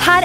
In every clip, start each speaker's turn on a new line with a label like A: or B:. A: her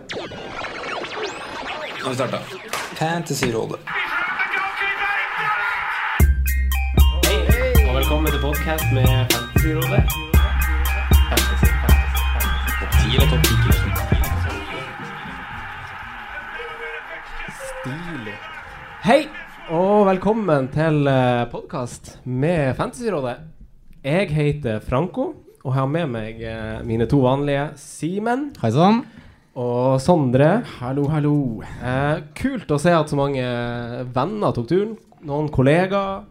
B: Nå har vi starta. Fantasyrådet.
C: Og velkommen til podcast med Fantasyrådet. Stilig. Hei, og velkommen til eh, podcast med Fantasyrådet. Jeg heter Franco, og har med meg eh, mine to vanlige Simen
D: Hei sann.
C: og Sondre.
D: Hallo, hallo.
C: Eh, kult å se at så mange venner tok turen. Noen kollegaer.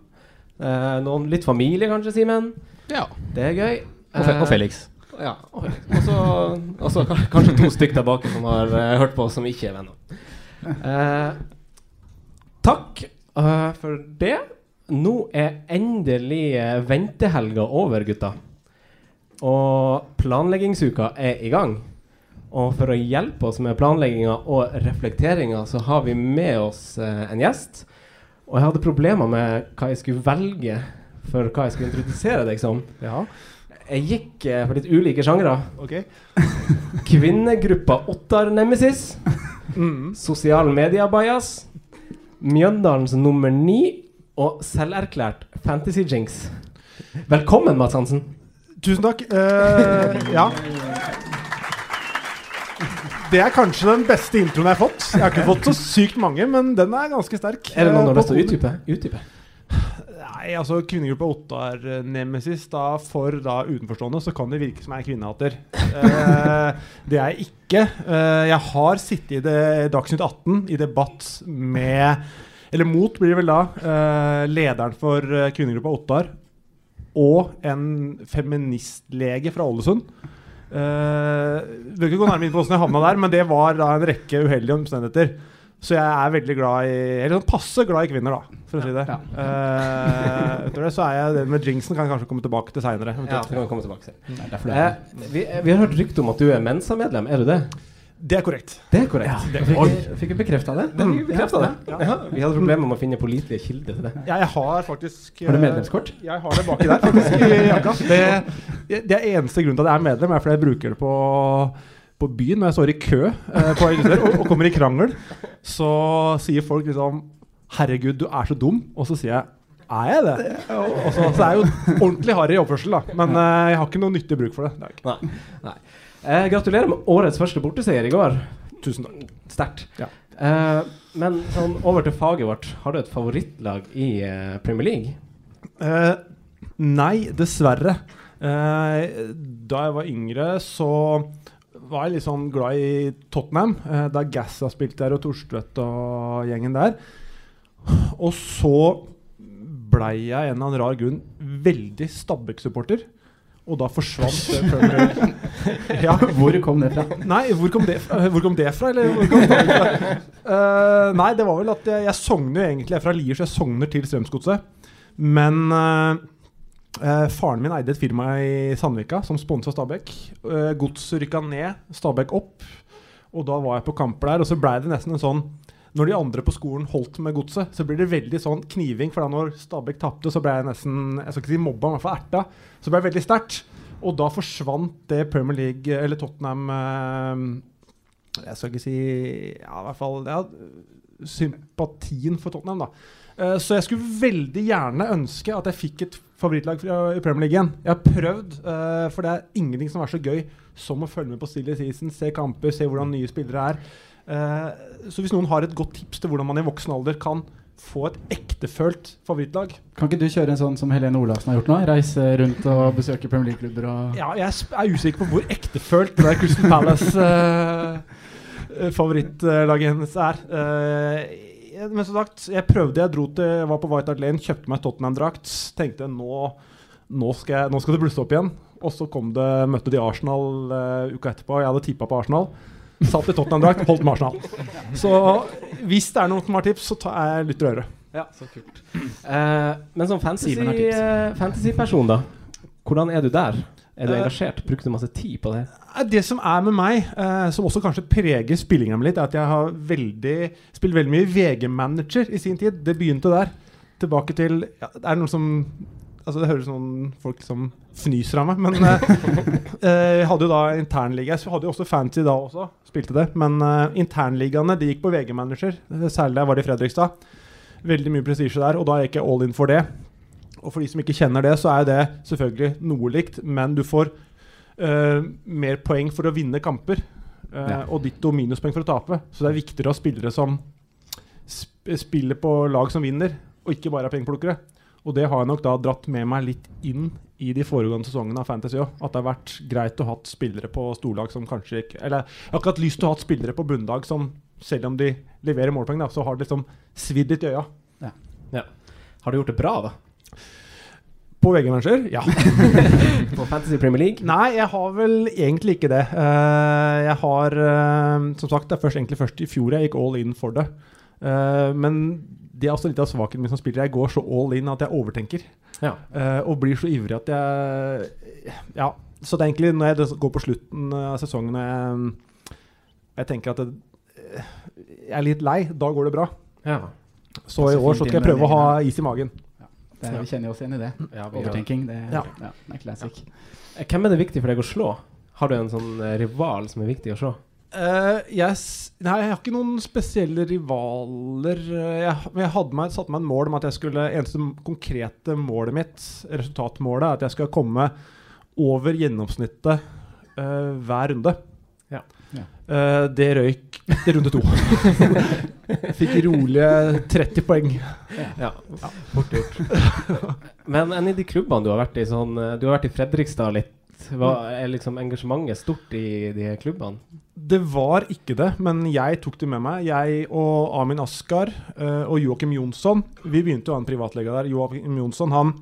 C: Eh, noen litt familie, kanskje, Simen.
D: Ja.
C: Det er gøy.
D: Og, Fe
C: Eh,
D: og Felix.
C: Ja. Og og så og så kan- kanskje to stykk der bak som har eh, hørt på, oss som ikke er venner. Eh, takk eh, for det. Nå er endelig eh, ventehelga over, gutta. Og planleggingsuka er i gang. Og for å hjelpe oss med planlegginga og reflekteringa, så har vi med oss eh, en gjest. Og jeg hadde problemer med hva jeg skulle velge for hva jeg skulle introdusere deg som.
D: Ja,
C: Jeg gikk eh, for litt ulike sjangre.
D: ok.
C: Kvinnegruppa Ottar Nemesis. Sosial media-bajas. Mjøndalens nummer ni. Og selverklært Fantasy Jinx. Velkommen, Mads Hansen.
E: Tusen takk. Eh, ja. Det er kanskje den beste introen jeg har fått. Jeg har ikke fått så sykt mange, men den er ganske sterk.
C: Er det noen du
E: Eh,
C: har lyst til å
E: på-
C: utdype? utdype?
E: Nei, altså Kvinnegruppa Ottar-nemesis da, for da utenforstående så kan det virke som jeg er kvinnehater. Eh, det er jeg ikke. Eh, jeg har sittet i det, Dagsnytt 18 i debatt med Eller mot, blir det vel da. Eh, lederen for eh, kvinnegruppa Ottar og en feministlege fra Ålesund. Uh, vil ikke gå nærmere inn på hvordan jeg havna der, men det var da en rekke uheldige omstendigheter. Så jeg er veldig glad i Eller sånn passe glad i kvinner, da, for å si det. Eh, utover det så er jeg den med jinxen kan jeg kanskje komme tilbake til seinere.
C: Ja, det kan vi komme tilbake til.
D: Det er derfor det
C: Eh,
D: er
C: vi, eh, vi har hørt rykte om at du er Mensa-medlem. Er du det?
E: Det er korrekt.
C: Det er korrekt.
E: det-
C: fikk, vi- fikk vi bekrefta det? Det fikk Vi bekreftet det.
E: Ja.
C: Ja, vi hadde problemer med å finne pålitelige kilder til det.
E: Jeg, jeg har faktisk eh,
C: Har du medlemskort?
E: Jeg har det baki der, faktisk, i jakka. Det, det er eneste grunnen til at jeg er medlem, er fordi jeg bruker det på på byen, når jeg står i kø eh, på Elgeseter og, og kommer i krangel, så sier folk liksom 'Herregud, du er så dum', og så sier jeg 'Er jeg det?' Og, og så, så er jeg jo ordentlig harry i oppførsel, da. Men eh, jeg har ikke noe nyttig bruk for det. det er ikke.
C: Nei. Nei. Eh, gratulerer med årets første borteseier i går. Tusen takk. Sterkt.
E: Ja.
C: Eh, men sånn, over til faget vårt. Har du et favorittlag i eh, Premier League?
E: Eh, nei, dessverre. Eh, da jeg var yngre, så var jeg litt sånn glad i Tottenham. eh, da Gassa spilte der, og Torstvedt og gjengen der. Og så blei jeg en eller annen rar grunn veldig Stabæk-supporter. Og da forsvant det Premier ja,
D: Hvor kom det fra?
E: Nei, hvor kom det fra? Eh, Hvor kom det fra, eller hvor kom det fra? Eh, nei, det var vel at jeg, jeg sogner jo egentlig, jeg er fra Lier, så jeg sogner til Strømsgodset. Men eh, eh, faren min eide et firma i Sandvika som sponsa Stabæk. Uh, Gods rykka ned, Stabæk opp. Og da var jeg på kamper der, og så blei det nesten en sånn når de andre på skolen holdt med godset, så blir det veldig sånn kniving. For da når Stabæk tapte, så ble jeg nesten jeg skal ikke si mobba, men i hvert fall erta. Så ble jeg veldig sterkt. Og da forsvant det Premier League, eller Tottenham eh, Jeg skal ikke si Ja, i hvert fall ja, sympatien for Tottenham, da. Eh, så jeg skulle veldig gjerne ønske at jeg fikk et favorittlag fra, i Premier League igjen. Jeg har prøvd, eh, for det er ingenting som er så gøy som å følge med på Stille Season, se kamper, se hvordan nye spillere er. Eh, så hvis noen har et godt tips til hvordan man i voksen alder kan få et ektefølt favorittlag
D: Kan ikke du kjøre en sånn som Helene Olafsen har gjort nå? Reise rundt og besøke Premier League-klubber og
E: Ja, jeg sp- er usikker på hvor ektefølt det der Crystal Palace-favorittlaget hennes er. Eh, jeg- men som sagt, jeg prøvde, jeg dro til, jeg var på White Hart Lane, kjøpte meg Tottenham-drakt. Tenkte nå, nå, skal jeg, nå skal det blusse opp igjen. Og så kom det, møtte de Arsenal eh, uka etterpå, og jeg hadde tippa på Arsenal. Satt i Tottenham-drakt, holdt med Arsenal. Så hvis det er noen som har tips, så tar jeg lytter øret.
C: Ja, så kult. Eh, men som fantasy-
E: Simen har tips.
C: eh, fantasyperson, da. Hvordan er du der? Er du
E: Eh,
C: engasjert? Bruker du masse tid på det?
E: Nei, Eh, Det som er med meg, eh, som også kanskje preger spillingen min litt, er at jeg har veldig, spilt veldig mye VG-manager i sin tid. Det begynte der. Tilbake til ja, Det er noen som Altså Det høres noen folk som fnyser av meg, men eh, eh, jeg hadde jo da internliga. Jeg hadde jo også fancy da også, spilte det. Men eh, internligaene de gikk på VG-manager. Eh, Særlig da jeg var i Fredrikstad. Veldig mye prestisje der, og da gikk jeg all in for det. Og for de som ikke kjenner det, så er det selvfølgelig noe likt, men du får eh, mer poeng for å vinne kamper. eh,
C: Ja.
E: Og ditto minuspoeng for å tape. Så det er viktigere å ha spillere som sp spiller på lag som vinner, og ikke bare er pengeplukkere. Og det har jeg nok da dratt med meg litt inn i de foregående sesongene av Fantasy òg. At det har vært greit å ha hatt spillere på storlag som kanskje ikke Eller jeg har ikke hatt lyst til å ha hatt spillere på bunnlag som, selv om de leverer målpoeng, da, så har det liksom svidd litt i øya.
D: Ja.
C: Har du gjort det bra, da?
E: På VG-manager? Ja.
C: på Fantasy Premier League?
E: Nei, jeg har vel egentlig ikke det. Eh, jeg har eh, Som sagt, det er først, egentlig først i fjor jeg gikk all in for det. Eh, men det er også litt av svakheten min som spiller. Jeg går så all in at jeg overtenker.
C: Ja.
E: Eh, og blir så ivrig at jeg Ja. Så det er egentlig når jeg des- går på slutten av sesongen og jeg, jeg tenker at det, jeg er litt lei, da går det bra.
C: Ja.
E: Så i
D: Passer fint
E: år så
D: inn
E: skal jeg
D: i den
E: prøve å ha
D: ligaen.
E: is i magen.
D: Det er, vi kjenner jo oss igjen i det.
C: Ja, vi gjør det.
D: Overtenking. Det,
E: Ja.
D: ja. det er classic.
C: Eh, Hvem er det viktig for deg å slå? Har du en sånn eh, rival som er viktig å slå?
E: Eh, jeg, s- nei, jeg har ikke noen spesielle rivaler. Eh, Jeg, men jeg hadde meg, satte meg en mål om at jeg skulle eneste m- konkrete målet mitt, resultatmålet, er at jeg skal komme over gjennomsnittet eh, hver runde.
C: Ja.
D: Ja.
E: Eh, det røyk til runde to. Fikk rolige 30 poeng.
C: Ja. Fort gjort. Men enn i de klubbene du har vært i, sånn eh, Du har vært i Fredrikstad litt. Hva er liksom engasjementet stort i de klubbene?
E: Det var ikke det, men jeg tok det med meg. Jeg og Amin Askar eh, og Joakim Jonsson Vi begynte å ha en privatlege der. Joakim Jonsson han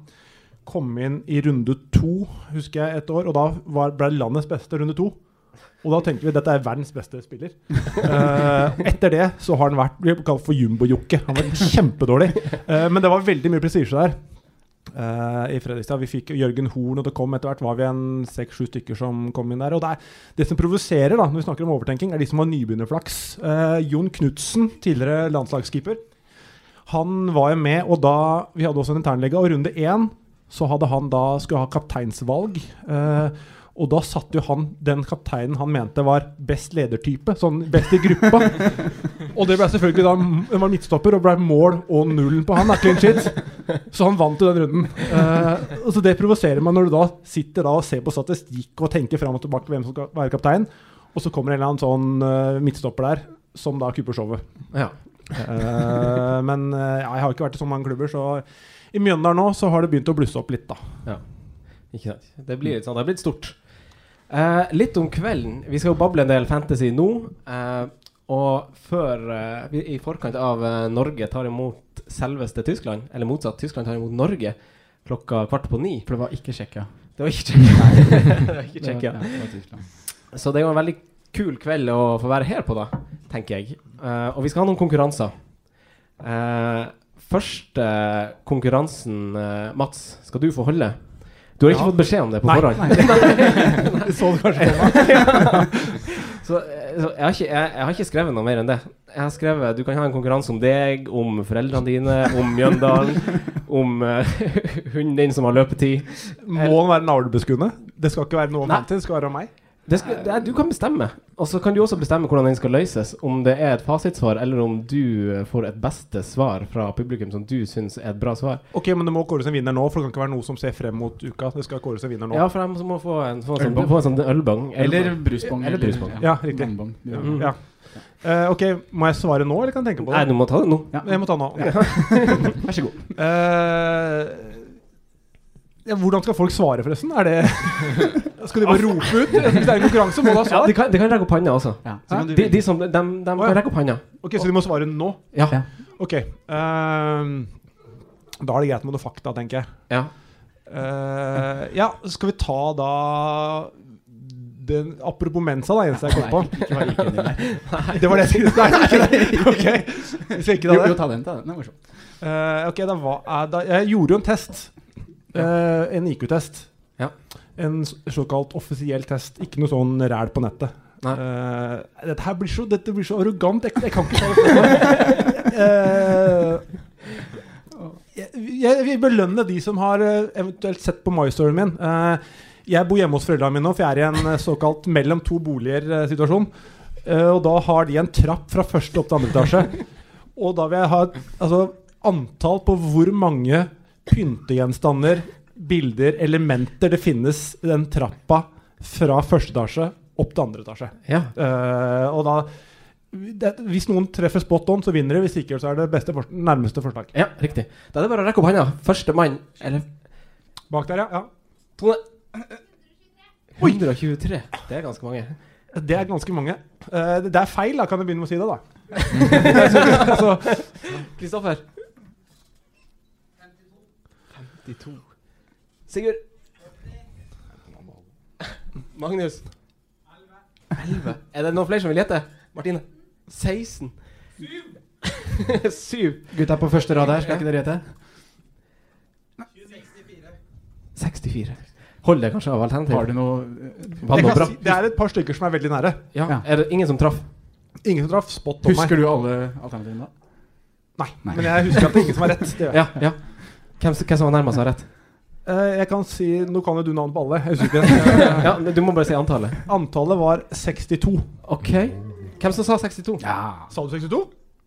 E: kom inn i runde to, husker jeg, et år. Og da var, ble landets beste runde to. Og da tenkte vi dette er verdens beste spiller. Eh, etter det så har han vært vi har kalt for jumbojokke. Han var kjempedårlig. Eh, men det var veldig mye prestisje der. eh, I Fredrikstad Vi fikk Jørgen Horn, og det kom etter hvert var vi en seks-sju stykker som kom inn der. Og det, er, det som provoserer, da når vi snakker om overtenking, er de som har nybegynnerflaks. Eh, Jon Knutsen, tidligere landslagskeeper, han var jo med, og da Vi hadde også en internlege, og runde én så hadde han da skulle ha kapteinsvalg. eh, og da satt jo han den kapteinen han mente var best ledertype, sånn best i gruppa. og det ble selvfølgelig da Han var midtstopper og ble mål og nullen på han. da, Clean shit. Så han vant jo den runden. Eh, og så Det provoserer meg når du da sitter da og ser på statistikk og tenker fram og tilbake hvem som skal være kaptein, og så kommer en eller annen sånn eh, midtstopper der som da kupper showet.
C: Ja.
E: Eh, men eh, ja, jeg har ikke vært i så mange klubber, så i Mjøndalen nå så har det begynt å blusse opp litt, da.
C: Ikke sant. Det blir litt sånn, det har blitt stort. Eh, litt om kvelden. Vi skal jo bable en del fantasy nå. eh, og før eh, vi i forkant av eh, Norge tar imot selveste Tyskland, eller motsatt, Tyskland tar imot Norge klokka kvart på ni.
D: For det var ikke Tsjekkia.
C: Det var ikke Tsjekkia. Det var ikke
D: Det var-
C: Tsjekkia.
D: ja, det var Tyskland.
C: Så det er jo en veldig kul kveld å få være her på, da, tenker jeg. Eh, og vi skal ha noen konkurranser. Eh, første konkurransen, eh, Mats, skal du få holde. Du har ikke fått beskjed om det på
E: Nei,
C: forhånd?
E: Du så det kanskje på meg.
C: Så, eh, så jeg, har ikke, jeg, jeg har ikke skrevet noe mer enn det. Jeg har skrevet Du kan ha en konkurranse om deg, om foreldrene dine, om Mjøndalen, om eh, hunden din som har løpetid.
E: Må han være navlebeskuende? Det skal ikke være noe om
C: Nei.
E: fantasy, det skal være om meg.
C: Det skal, det er, du kan bestemme. Og så kan du også bestemme hvordan den skal løses. Om det er et fasitsvar, eller om du eh, får et beste svar fra publikum som du syns er et bra svar.
E: Ok, men det må kåres en vinner nå, for det kan ikke være noe som ser frem mot uka. Det skal kåres en vinner nå.
C: Ja, for jeg må få en, få en, sånn, få en sånn ølbong.
D: Eller brusbong,
C: Eller
D: eller-
C: brusbong.
E: Ja, riktig.
D: Vannbong.
E: Ja.
C: Mm.
E: Ja. Eh, ok, Må jeg svare nå, eller kan jeg tenke på det?
C: Nei, du må ta det nå.
D: Ja.
E: Jeg må ta nå. ok.
D: Vær så god.
E: Eh, ja, hvordan skal folk svare, forresten? Er det Skal de bare rope ut? Hvis det er en konkurranse, må de ha
C: Ja,
E: svar.
C: de, kan, de kan rekke opp handa også.
D: Ja. Så kan du
C: De,
D: velge.
C: de som, de, de
E: Å, ja.
C: kan rekke opp handa.
E: Ok, Så de må svare nå?
C: Ja.
D: Ja.
E: Ok. ehm, da er det greit med noe fakta, tenker jeg.
C: ja.
E: Eh, ja, skal vi ta da den, Apropos Mensa, da, eneste jeg kom på.
D: Ikke vær like enig der.
E: Det var det jeg skulle Nei, ikke det. Ok. Vi skal ikke ta
D: Jo,
E: det.
D: jo, ta den. Ta den. den er morsom.
E: Eh, ok, da hva er da Jeg gjorde jo en test. Eh, en IQ-test.
C: Ja.
E: En s- såkalt offisiell test. Ikke noe sånn ræl på nettet.
C: Nei.
E: Eh, dette her blir så, dette blir så arrogant. Jeg, jeg kan ikke ta det for meg. Eh, jeg, jeg vil belønne de som har eh, eventuelt sett på MyStoryen min. Eh, jeg bor hjemme hos foreldrene mine nå, for jeg er i en eh, såkalt mellom to boliger-situasjon. Eh, og da har de en trapp fra første opp til andre etasje. Og da vil jeg ha et altså, antall på hvor mange pyntegjenstander, bilder, elementer det finnes i den trappa fra første etasje opp til andre etasje.
C: ja.
E: Eh, og da det, Hvis noen treffer spot on, så vinner de. Hvis ikke, så er det beste for, nærmeste forslag.
C: Ja, riktig. Da er det bare å rekke opp handa. Førstemann, eller
E: Bak der, ja. ja.
C: Tone. 123. Det er ganske mange.
E: Det er ganske mange. Eh, det, det er feil, da. Kan jeg begynne med å si det, da? altså,
C: Kristoffer. 52. Sigurd. Magnus. 11. Er det noen flere som vil gjette? Martine. 16. 7. 7.
D: Gutta på første rad her, skal ikke dere gjette?
C: 64. Hold deg kanskje av alternativ.
D: Har du noe
C: Var
E: jeg
C: det noe
E: kan
C: bra?
E: si, det er et par stykker som er veldig nære.
C: Ja.
D: Ja.
C: Er det ingen som traff?
E: Ingen som traff spot on
D: Husker du alle alternativene da?
E: Nei, men jeg husker at det er ingen som har rett. Det gjør jeg.
C: Ja. ja. Hvem, s- hvem som var nærmest, har rett.
E: Eh, jeg kan si Nå kan jo du navnet på alle. Jeg husker ikke. Eh,
C: Ja, men Du må bare si antallet.
E: Antallet var 62.
C: OK. Hvem som sa 62? Ja,
E: Sa du 62?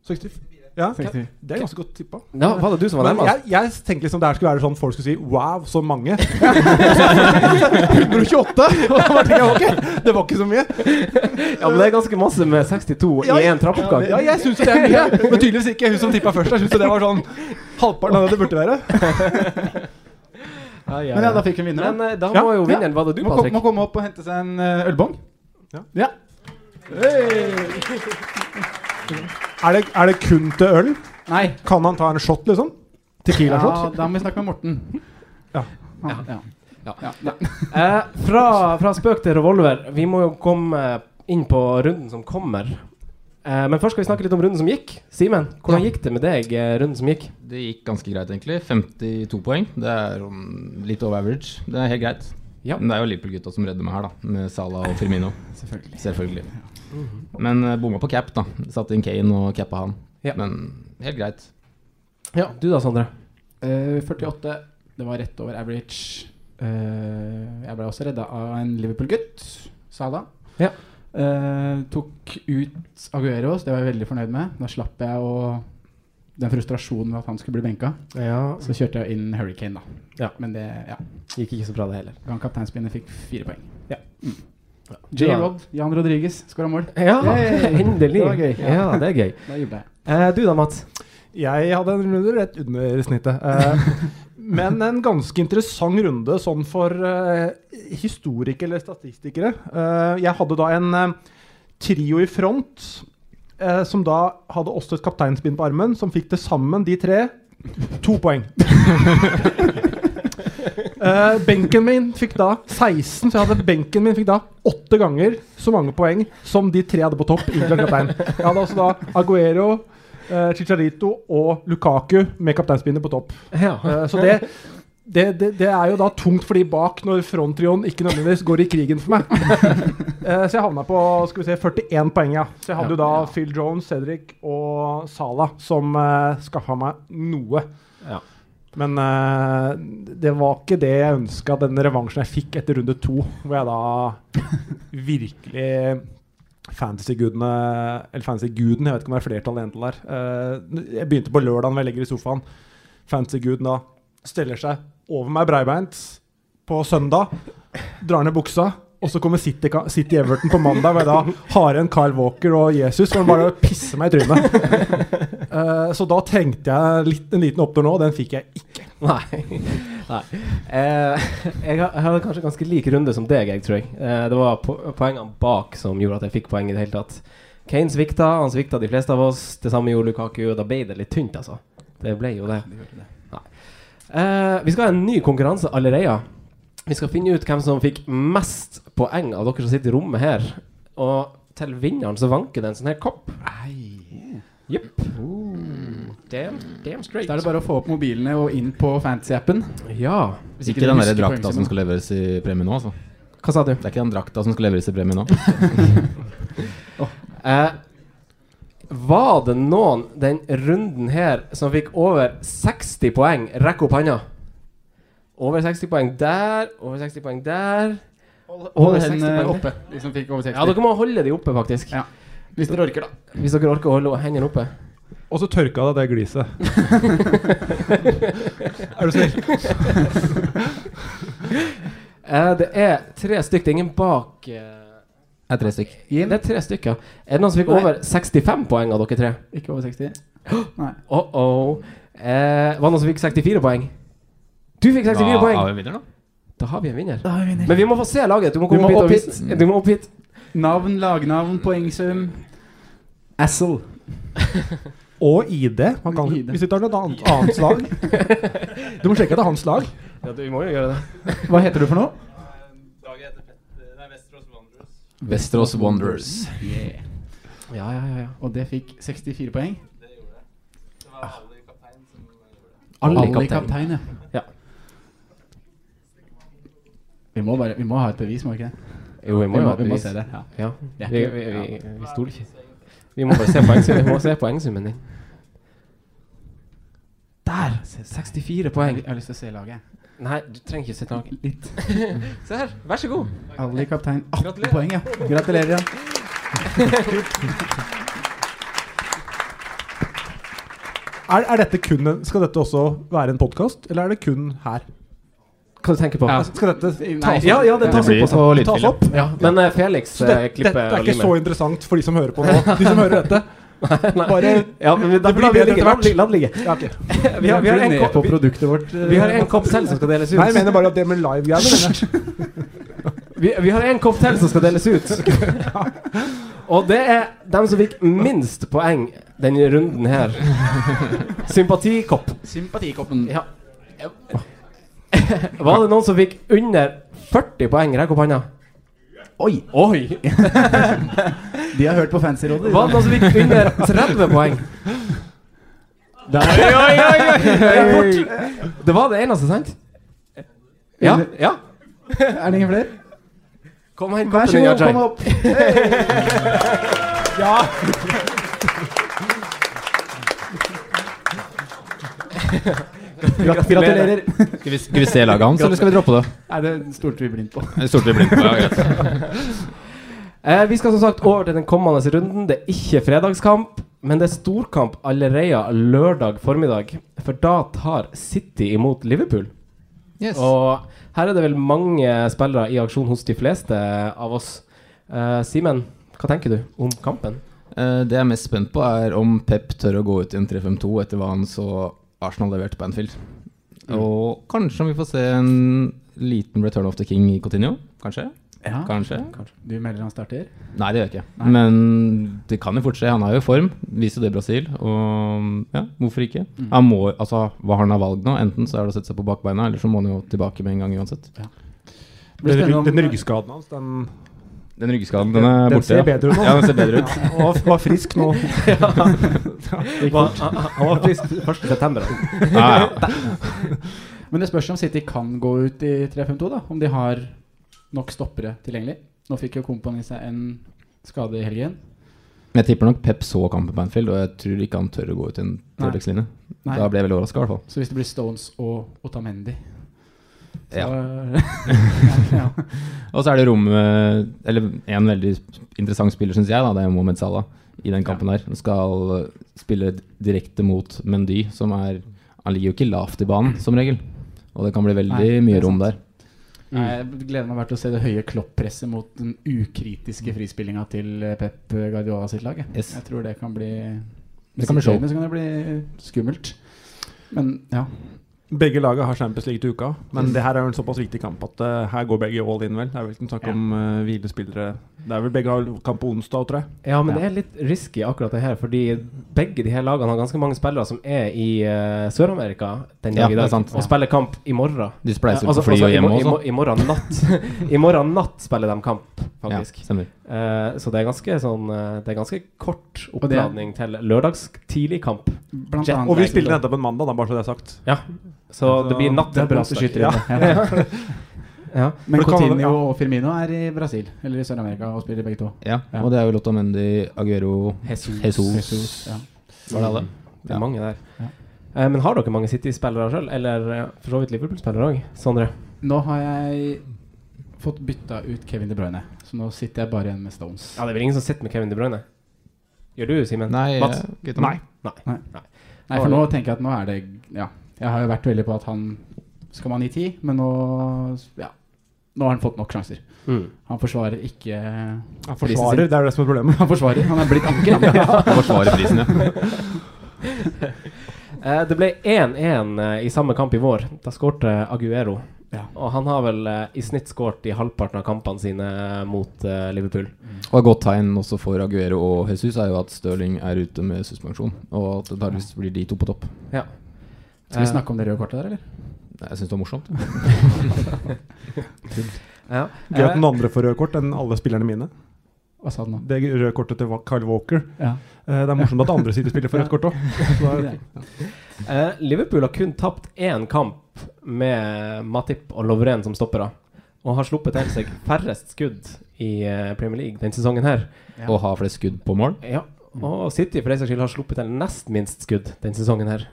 E: 64. Ja,
D: Seksti.
E: Det er ganske godt tippa.
C: Var det du som var
E: Men
C: nærmest?
E: jeg, jeg tenkte liksom det her skulle være sånn folk skulle si 'wow, så mange'. 128! Og da tenkte jeg, ok, Det var ikke så mye.
C: Ja, men det er ganske masse med 62
E: Ja,
C: i én trappeoppgang.
E: Ja, jeg syns jo det er mye. Men tydeligvis ikke hun som tippa først. Jeg syns jo det var sånn halvparten av det det burde være.
D: Men ja, da fikk hun vinner.
C: Men
D: da.
C: eh, da
D: Ja,
C: må jo
D: ja.
C: vinneren Var det du,
D: Må, kom,
C: Patrick?
D: må komme opp og hente seg en eh, ølbong.
E: Ja.
D: Hey.
E: Er det, er det kun til øl?
D: Nei.
E: Kan han ta en shot, liksom?
D: Ja,
E: Tequila-shot?
D: da må vi snakke med Morten.
E: Ja.
D: Han, ja.
C: Ja.
D: Ja, nei.
C: Eh, fra, fra spøk til revolver. Vi må jo komme eh, inn på runden som kommer. Eh, men først skal vi snakke litt om runden som gikk. Simen, hvordan gikk det med deg? eh, runden som gikk
F: Det gikk ganske greit, egentlig. 52 poeng. Det er um, litt over average. Det er helt greit.
C: Ja.
F: Men det er jo Liverpool-gutta som redder meg her, da. Med Salah og Firmino.
D: Selvfølgelig.
F: Selvfølgelig. Men uh, bomma på cap, da. Satte inn Kane og cappa han.
C: Ja.
F: Men helt greit.
C: Ja, Du da, Sondre?
D: Eh, 48. Det var rett over average. Eh, jeg ble også redda av en Liverpool-gutt. Salah.
C: Ja.
D: Eh, tok ut Aguero, så det var jeg veldig fornøyd med. Da slapp jeg å den frustrasjonen med at han skulle bli benka.
C: Ja.
D: Så kjørte jeg inn Hurricane, da.
C: Ja.
D: Men det ja.
C: Gikk ikke så bra, det heller.
D: Han kapteinspinnet fikk fire poeng.
C: Ja.
D: Mm.
C: Du da?
D: J-Rod, Jan Rodriguez, skåra mål.
C: Ja,
D: Hey!
C: endelig.
D: Det var gøy.
C: Ja, det er gøy.
D: Da jubla jeg.
C: Eh, du da, Mats?
E: Jeg hadde en runde rett under snittet. Eh, men en ganske interessant runde sånn for eh, historikere eller statistikere. Eh, jeg hadde da en eh, trio i front eh, som da hadde også et kapteinsbind på armen, som fikk til sammen, de tre, to poeng. Eh, benken min fikk da 16, så jeg hadde benken min fikk da åtte ganger så mange poeng som de tre hadde på topp. inkludert kaptein. Jeg hadde også da Aguero, eh, Chicharito og Lukaku med kapteinspinnet på topp.
C: Ja.
E: Eh, så det, det, det, det er jo da tungt for de bak når fronttrioen ikke nødvendigvis går i krigen for meg. Eh, så jeg havna på skal vi se, 41 poeng, ja. Så jeg hadde jo da Phil Jones, Cedric og Salah som uh, skaffa meg eh, noe.
C: Ja.
E: Men eh, det var ikke det jeg ønska, den revansjen jeg fikk etter runde to, hvor jeg da virkelig Fantasy-gudene Eller Fantasy-guden, jeg vet ikke om det er flertall eller entall der. eh, jeg begynte på lørdagen hvor jeg ligger i sofaen. Fantasy-guden da steller seg over meg breibeint på søndag, drar ned buksa. Og så kommer City, City Everton på mandag, hvor jeg da har igjen Kyle Walker og Jesus. Hvor han bare pisser meg i trynet. Eh, så da trengte jeg litt, en liten opptur nå, og den fikk jeg ikke.
C: Nei. Nei. Eh, jeg har- jeg hadde kanskje ganske lik runde som deg, jeg, tror jeg. Eh, det var po poengene bak som gjorde at jeg fikk poeng i det hele tatt. Kane svikta, han svikta de fleste av oss. Det samme gjorde Lukaku, og da ble det litt tynt, altså. Det ble jo det. Nei. Eh, vi skal ha en ny konkurranse allerede. Vi skal finne ut hvem som fikk mest poeng av dere som sitter i rommet her. Og til vinneren så vanker det en sånn her kopp. Jepp. Damn, damn straight.
D: Oh. Da er det bare å få opp mobilene og inn på fantasy-appen.
C: Ja.
D: Hvis
F: Ikke
D: dere
F: den der
D: husker
F: drakta
D: poengsummen.
F: som skal leveres i premie nå, altså.
C: Hva sa du?
F: Det er ikke den drakta som skal leveres i premie nå.
C: Eh, var det noen den runden her som fikk over 60 poeng? Rekk opp handa. Over 60 poeng der, over 60 poeng der.
D: Hold hendene eh, oppe, de som fikk over 60.
C: Ja, dere må holde de oppe, faktisk.
D: Hvis dere orker, da.
C: Hvis dere orker å holde hendene oppe.
E: Og så tørka det det gliset. er du snill?
C: Eh, det er tre stykk. Det er ingen bak eh,
F: Det er tre stykk.
C: Det er tre stykker. Er det noen som fikk
D: Nei.
C: over 65 poeng av dere tre?
D: Ikke over 60. Nei.
C: Oh -oh. Eh, var det noen som fikk 64 poeng? Du fikk 64
F: Da
C: poeng.
F: har vi en vinner, da.
C: Da har vi en vinner. Men vi må få se laget. Du må
D: Du
C: komme
D: må
C: opp
D: opp
C: hit. og
D: hit.
C: vis- Du må opp hit.
D: Navn, lagnavn, poengsum. Assel.
E: Og ID. Man kan, hvis du tar noe annet, annet slag Du må sjekke at det er hans lag.
C: Ja, du må jo gjøre det.
D: Hva heter du for noe?
F: Westerås Wanderers.
D: Yeah.
C: Ja, ja, ja, ja.
D: Og det fikk 64 poeng.
C: Alle
D: Ah. Alle i
C: kaptein.
D: kaptein, ja.
C: Ja.
D: Vi må, bare, vi må ha et bevis, må vi ikke det?
C: Jo, vi må,
D: vi
C: jo
D: må,
C: ha et
D: vi må
C: bevis.
D: se det. Ja.
C: Ja.
D: Det er
C: Vi,
D: ikke-
C: vi, vi,
D: ja.
C: vi stoler ikke. Vi må bare se poengsummen. Vi må se poengsummen din. Der! 64 poeng.
D: Jeg har lyst til å se laget.
C: Nei, du trenger ikke sitte naken.
D: Litt.
C: Se her, vær så god.
D: Alle i kaptein. 18
C: Gratulerer.
D: poeng, ja. Gratulerer, ja.
E: Er, er dette kun en, skal dette også være en podkast, eller er det kun her?
C: Hva du tenker på?
E: Altså, Skal dette
D: Nei,
E: tas opp? Ja, ja, det tas
F: blir
E: opp.
F: på
E: også. Tas
F: lydfil, ja.
E: opp.
C: Ja, men eh, Felix
E: Så det,
C: eh, klipper
E: dette er
C: og
E: ikke
C: limer.
E: så interessant for de som hører på nå. De som hører dette. Bare
C: Ja, men vi- da
E: Det blir
C: lar vi
E: bedre
C: ligge,
E: etter
C: la
E: hvert.
C: den ligge, la den ligge.
E: ja, ok.
C: Vi har, vi har en kopp, vi,
D: produktet vårt.
C: vi har en kopp til som skal deles ut.
E: Nei, jeg mener bare at det med live-greiene
C: Vi, vi har en kopp til som skal deles ut. Og det er dem som fikk minst poeng denne runden her. Sympatikopp.
D: Sympatikoppen.
C: Ja. Var det noen som fikk under 40 poeng? Rekk opp hånda.
D: Oi!
C: Oi!
D: De har hørt på Fancyrådet.
C: Var det noen som fikk under 30 poeng?
D: Der.
C: Oi, oi, oi, oi! Det er fort. Det var det eneste, sant? Ja. ja.
D: Er det ingen flere?
C: Kom og hent
D: Vær
C: koppen
D: så
C: din,
D: god,
C: Ajay.
D: kom opp. Gratulerer.
F: Skal vi, skal vi se laget hans, eller skal vi droppe det?
D: Nei, det stolte vi blindt på.
F: Det stolte vi blindt på. Ja, greit.
C: Eh, vi skal som sagt over til den kommende runden. Det er ikke fredagskamp, men det er storkamp allerede lørdag formiddag. For da tar City imot Liverpool.
F: Yes.
C: Og her er det vel mange spillere i aksjon hos de fleste av oss. Eh, Simen, hva tenker du om kampen?
F: Eh, Det jeg er mest spent på, er om Pep tør å gå ut i en 3-5-2 etter hva han så Arsenal leverte på Anfield.
E: Mm.
F: Og kanskje om vi får se en liten return of the king i Coutinho Kanskje?
E: Ah,
D: Ja.
F: Kanskje?
D: Du melder han starter?
F: Nei, det gjør jeg ikke. Men det kan jo fort skje. Han er jo i form. Viser jo det i Brasil. Og ja, hvorfor ikke?
E: Mm.
F: Han må, altså, hva har han av valg nå? Enten så er det å sette seg på bakbeina, eller så må han jo tilbake med en gang uansett.
D: Det blir spennende
E: den,
D: om-
E: den ryggskaden hans, den,
F: Den ryggeskaden, den er
E: den
F: borte.
E: ser bedre ut nå.
F: Ja, den ser bedre ut.
E: Ja, og var frisk nå.
C: Var- Han han var frisk 1.9.
F: Ja, ja.
D: Men det spørs om City kan gå ut i 3-5-2, da. Om de har nok stoppere tilgjengelig. Nå fikk jo Kompani seg en skade i helgen.
F: Men jeg tipper nok Pep så kampen på Anfield, og jeg tror ikke han tør å gå ut i en
D: Nei.
F: Tordex-linje.
D: Nei.
F: Da ble jeg veldig overraska, i hvert fall.
D: Så hvis det blir Stones og Otamendi så,
F: Ja. Mm.
D: ja.
F: og så er det rommet Eller en veldig interessant spiller, syns jeg, da, det er Mohammed Salah i den kampen her. Han skal eh, spille direkte mot Mendy, som er Han ligger jo ikke lavt i banen, som regel. Og det kan bli veldig
D: Nei, det
F: mye
D: er
F: rom der.
D: sant. Nei, jeg gleder meg bare til å se det høye kloppresset mot den ukritiske frispillinga til eh, Pep Guardiola sitt lag. jeg.
F: Yes.
D: Jeg tror det kan bli
F: Det kan bli show.
D: Men Så kan det bli skummelt. Men ja.
E: Begge laget har Champions League til uka,
D: Mm.
E: men det her er jo en såpass viktig kamp at eh, her går begge all in, vel. Det er vel ikke en snakk om eh, hvilespillere Det er vel begge har kamp på onsdag, tror jeg.
C: Ja, men det er litt risky akkurat det her, fordi begge de her lagene har ganske mange spillere som er i eh, Sør-Amerika den
F: Ja,
C: dag i
F: det er
C: dag,
F: sant.
C: og spiller kamp i morgen.
F: De spleiser
C: altså-
F: på fly
C: altså, i
F: og hjemme
C: mor- i
F: også.
C: mor- I morgen natt I morgen natt spiller de kamp, faktisk.
F: Ja, stemmer.
C: Eh, så det er ganske sånn eh, Det er ganske kort
D: Og det-
C: oppladning til lørdags tidlig kamp.
D: Blant
C: Jet-
D: annet- Og vi spiller
E: nettopp en mandag, da, bare så det er sagt.
C: Ja. Så det blir natt
D: Det er
C: til
D: bra
C: onsdag.
D: skyter inn.
C: Ja. Ja.
D: Men
C: For det kan-
D: Coutinho
C: ja.
D: og Firmino er i Brasil, eller i Sør-Amerika, og spiller begge to.
F: Ja, og det er jo Otamendi, Aguero,
D: Jesus.
F: Jesus.
D: Jesus, ja.
F: Var det alle?
C: Det er mange der.
D: Ja.
C: Eh, men har dere mange City-spillere sjøl, eller eh, for så vidt Liverpool-spillere òg? Sondre?
D: Nå har jeg fått bytta ut Kevin De Bruyne, så nå sitter jeg bare igjen med Stones.
C: Ja, det er vel ingen som sitter med Kevin De Bruyne? Gjør du, Simen?
F: Nei,
E: eh,
C: Mats?
F: jeg- gutta. Nei.
C: Nei.
D: Nei. Nei, for nå tenker jeg at nå er det Ja. Jeg har jo vært veldig på at han skal man gi ti, men nå Ja. Nå har han fått nok sjanser.
C: Mm.
D: Han forsvarer ikke
E: Han forsvarer, det er jo det som er problemet.
D: Han forsvarer. Han er blitt anker, han.
C: Eh, det ble 1-1 eh, i samme kamp i vår. Da skårte Aguero. Og han har vel eh, i snitt skåret i halvparten av kampene sine mot eh, Liverpool.
F: Og et godt tegn også for Aguero og Jesus er jo at Stirling er ute med suspensjon, og at det antakeligvis blir de to på topp.
C: Ja.
D: Skal vi snakke om det røde kortet der, eller?
F: Nei, Jeg syns det var morsomt.
C: Ja.
E: Gøy at noen andre får røde kort enn alle spillerne mine.
D: Hva sa du nå?
E: Det røde kortet til Wa- Kyle Walker.
D: Ja.
E: Eh, Det er morsomt at andre sitter og spiller for rødt kort òg.
C: Eh, Liverpool har kun tapt én kamp med Matip og Lovren som stoppere. Og har sluppet til seg færrest skudd i eh, Premier League denne sesongen her.
F: Ja. Og har flest skudd på mål.
C: Ja. Og City for den saks skyld har sluppet til nest minst skudd denne sesongen her.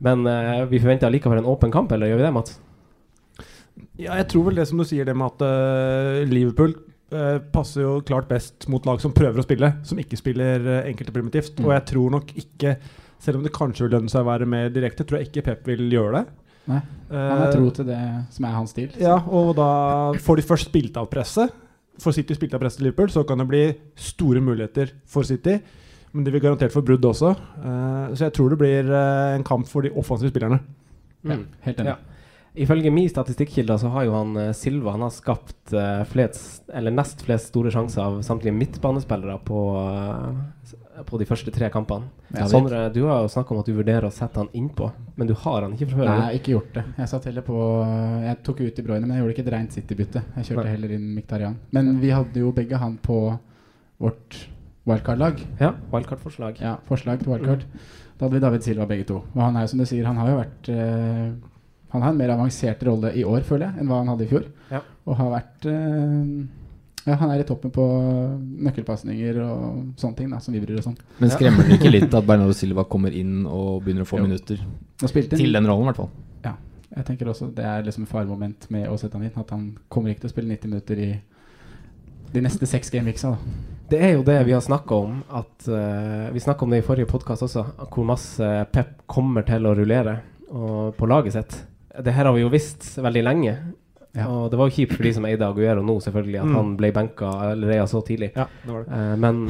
C: Men eh, vi forventer allikevel en åpen kamp, eller gjør vi det, Mats?
E: Ja, jeg tror vel det som du sier, det med at eh, Liverpool eh, passer jo klart best mot lag som prøver å spille, som ikke spiller eh, enkelt og primitivt.
D: Mm.
E: Og jeg tror nok ikke, selv om det kanskje vil lønne seg å være mer direkte, tror jeg ikke Pep vil gjøre det.
D: Nei. Han er
E: Eh, Mm.
D: tro til det som er hans stil.
E: Ja, og da får de først spilt av presset. Får City spilt av presset til Liverpool, så kan det bli store muligheter for City. Men de vil garantert få brudd også. Eh, så jeg tror det blir eh, en kamp for de offensive spillerne.
D: Ja, helt enig.
C: Ifølge min statistikkilde så har jo han eh, Silva han har skapt eh, flest, eller nest flest store sjanser av samtlige midtbanespillere på, eh, s- på de første tre kampene.
D: Ja, vi-
C: Sondre, du har jo snakka om at du vurderer å sette han innpå, men du har han ikke fra før?
D: Nei, ikke gjort det. Jeg satt heller på Jeg tok ut De Bruyne, men jeg gjorde ikke et rent City-bytte. Jeg kjørte
C: Nei.
D: heller inn Miktarian. Men vi hadde jo begge han på vårt wildcard-lag.
C: Ja, wildcard-forslag.
D: Ja, forslag til wildcard. Da hadde vi David Silva begge to. Og han er jo som du sier, han har jo vært eh, Han har en mer avansert rolle i år, føler jeg, enn hva han hadde i fjor.
C: Ja.
D: Og har vært eh, Ja, han er i toppen på nøkkelpasninger og sånne ting, da, som vi bryr oss om.
F: Men skremmer det ikke litt at Bernardo Silva kommer inn og begynner å få
D: Jo.
F: minutter?
D: Nå spilte han-
F: Til den rollen, i hvert fall.
D: Ja. Jeg tenker også Det er liksom et faremoment med å sette han inn. At han kommer ikke til å spille 90 minutter i de neste seks gameweeksa. da.
C: Det er jo det vi har snakka om. At, eh, vi snakka om det i forrige podkast også, hvor masse Pep kommer til å rullere og, på laget sitt. Det her har vi jo visst veldig lenge. Og det var jo kjipt for de som eide Aguero nå, selvfølgelig, at
E: Mm.
C: han ble benka allerede så tidlig.
E: Ja, det var det.
C: Eh, men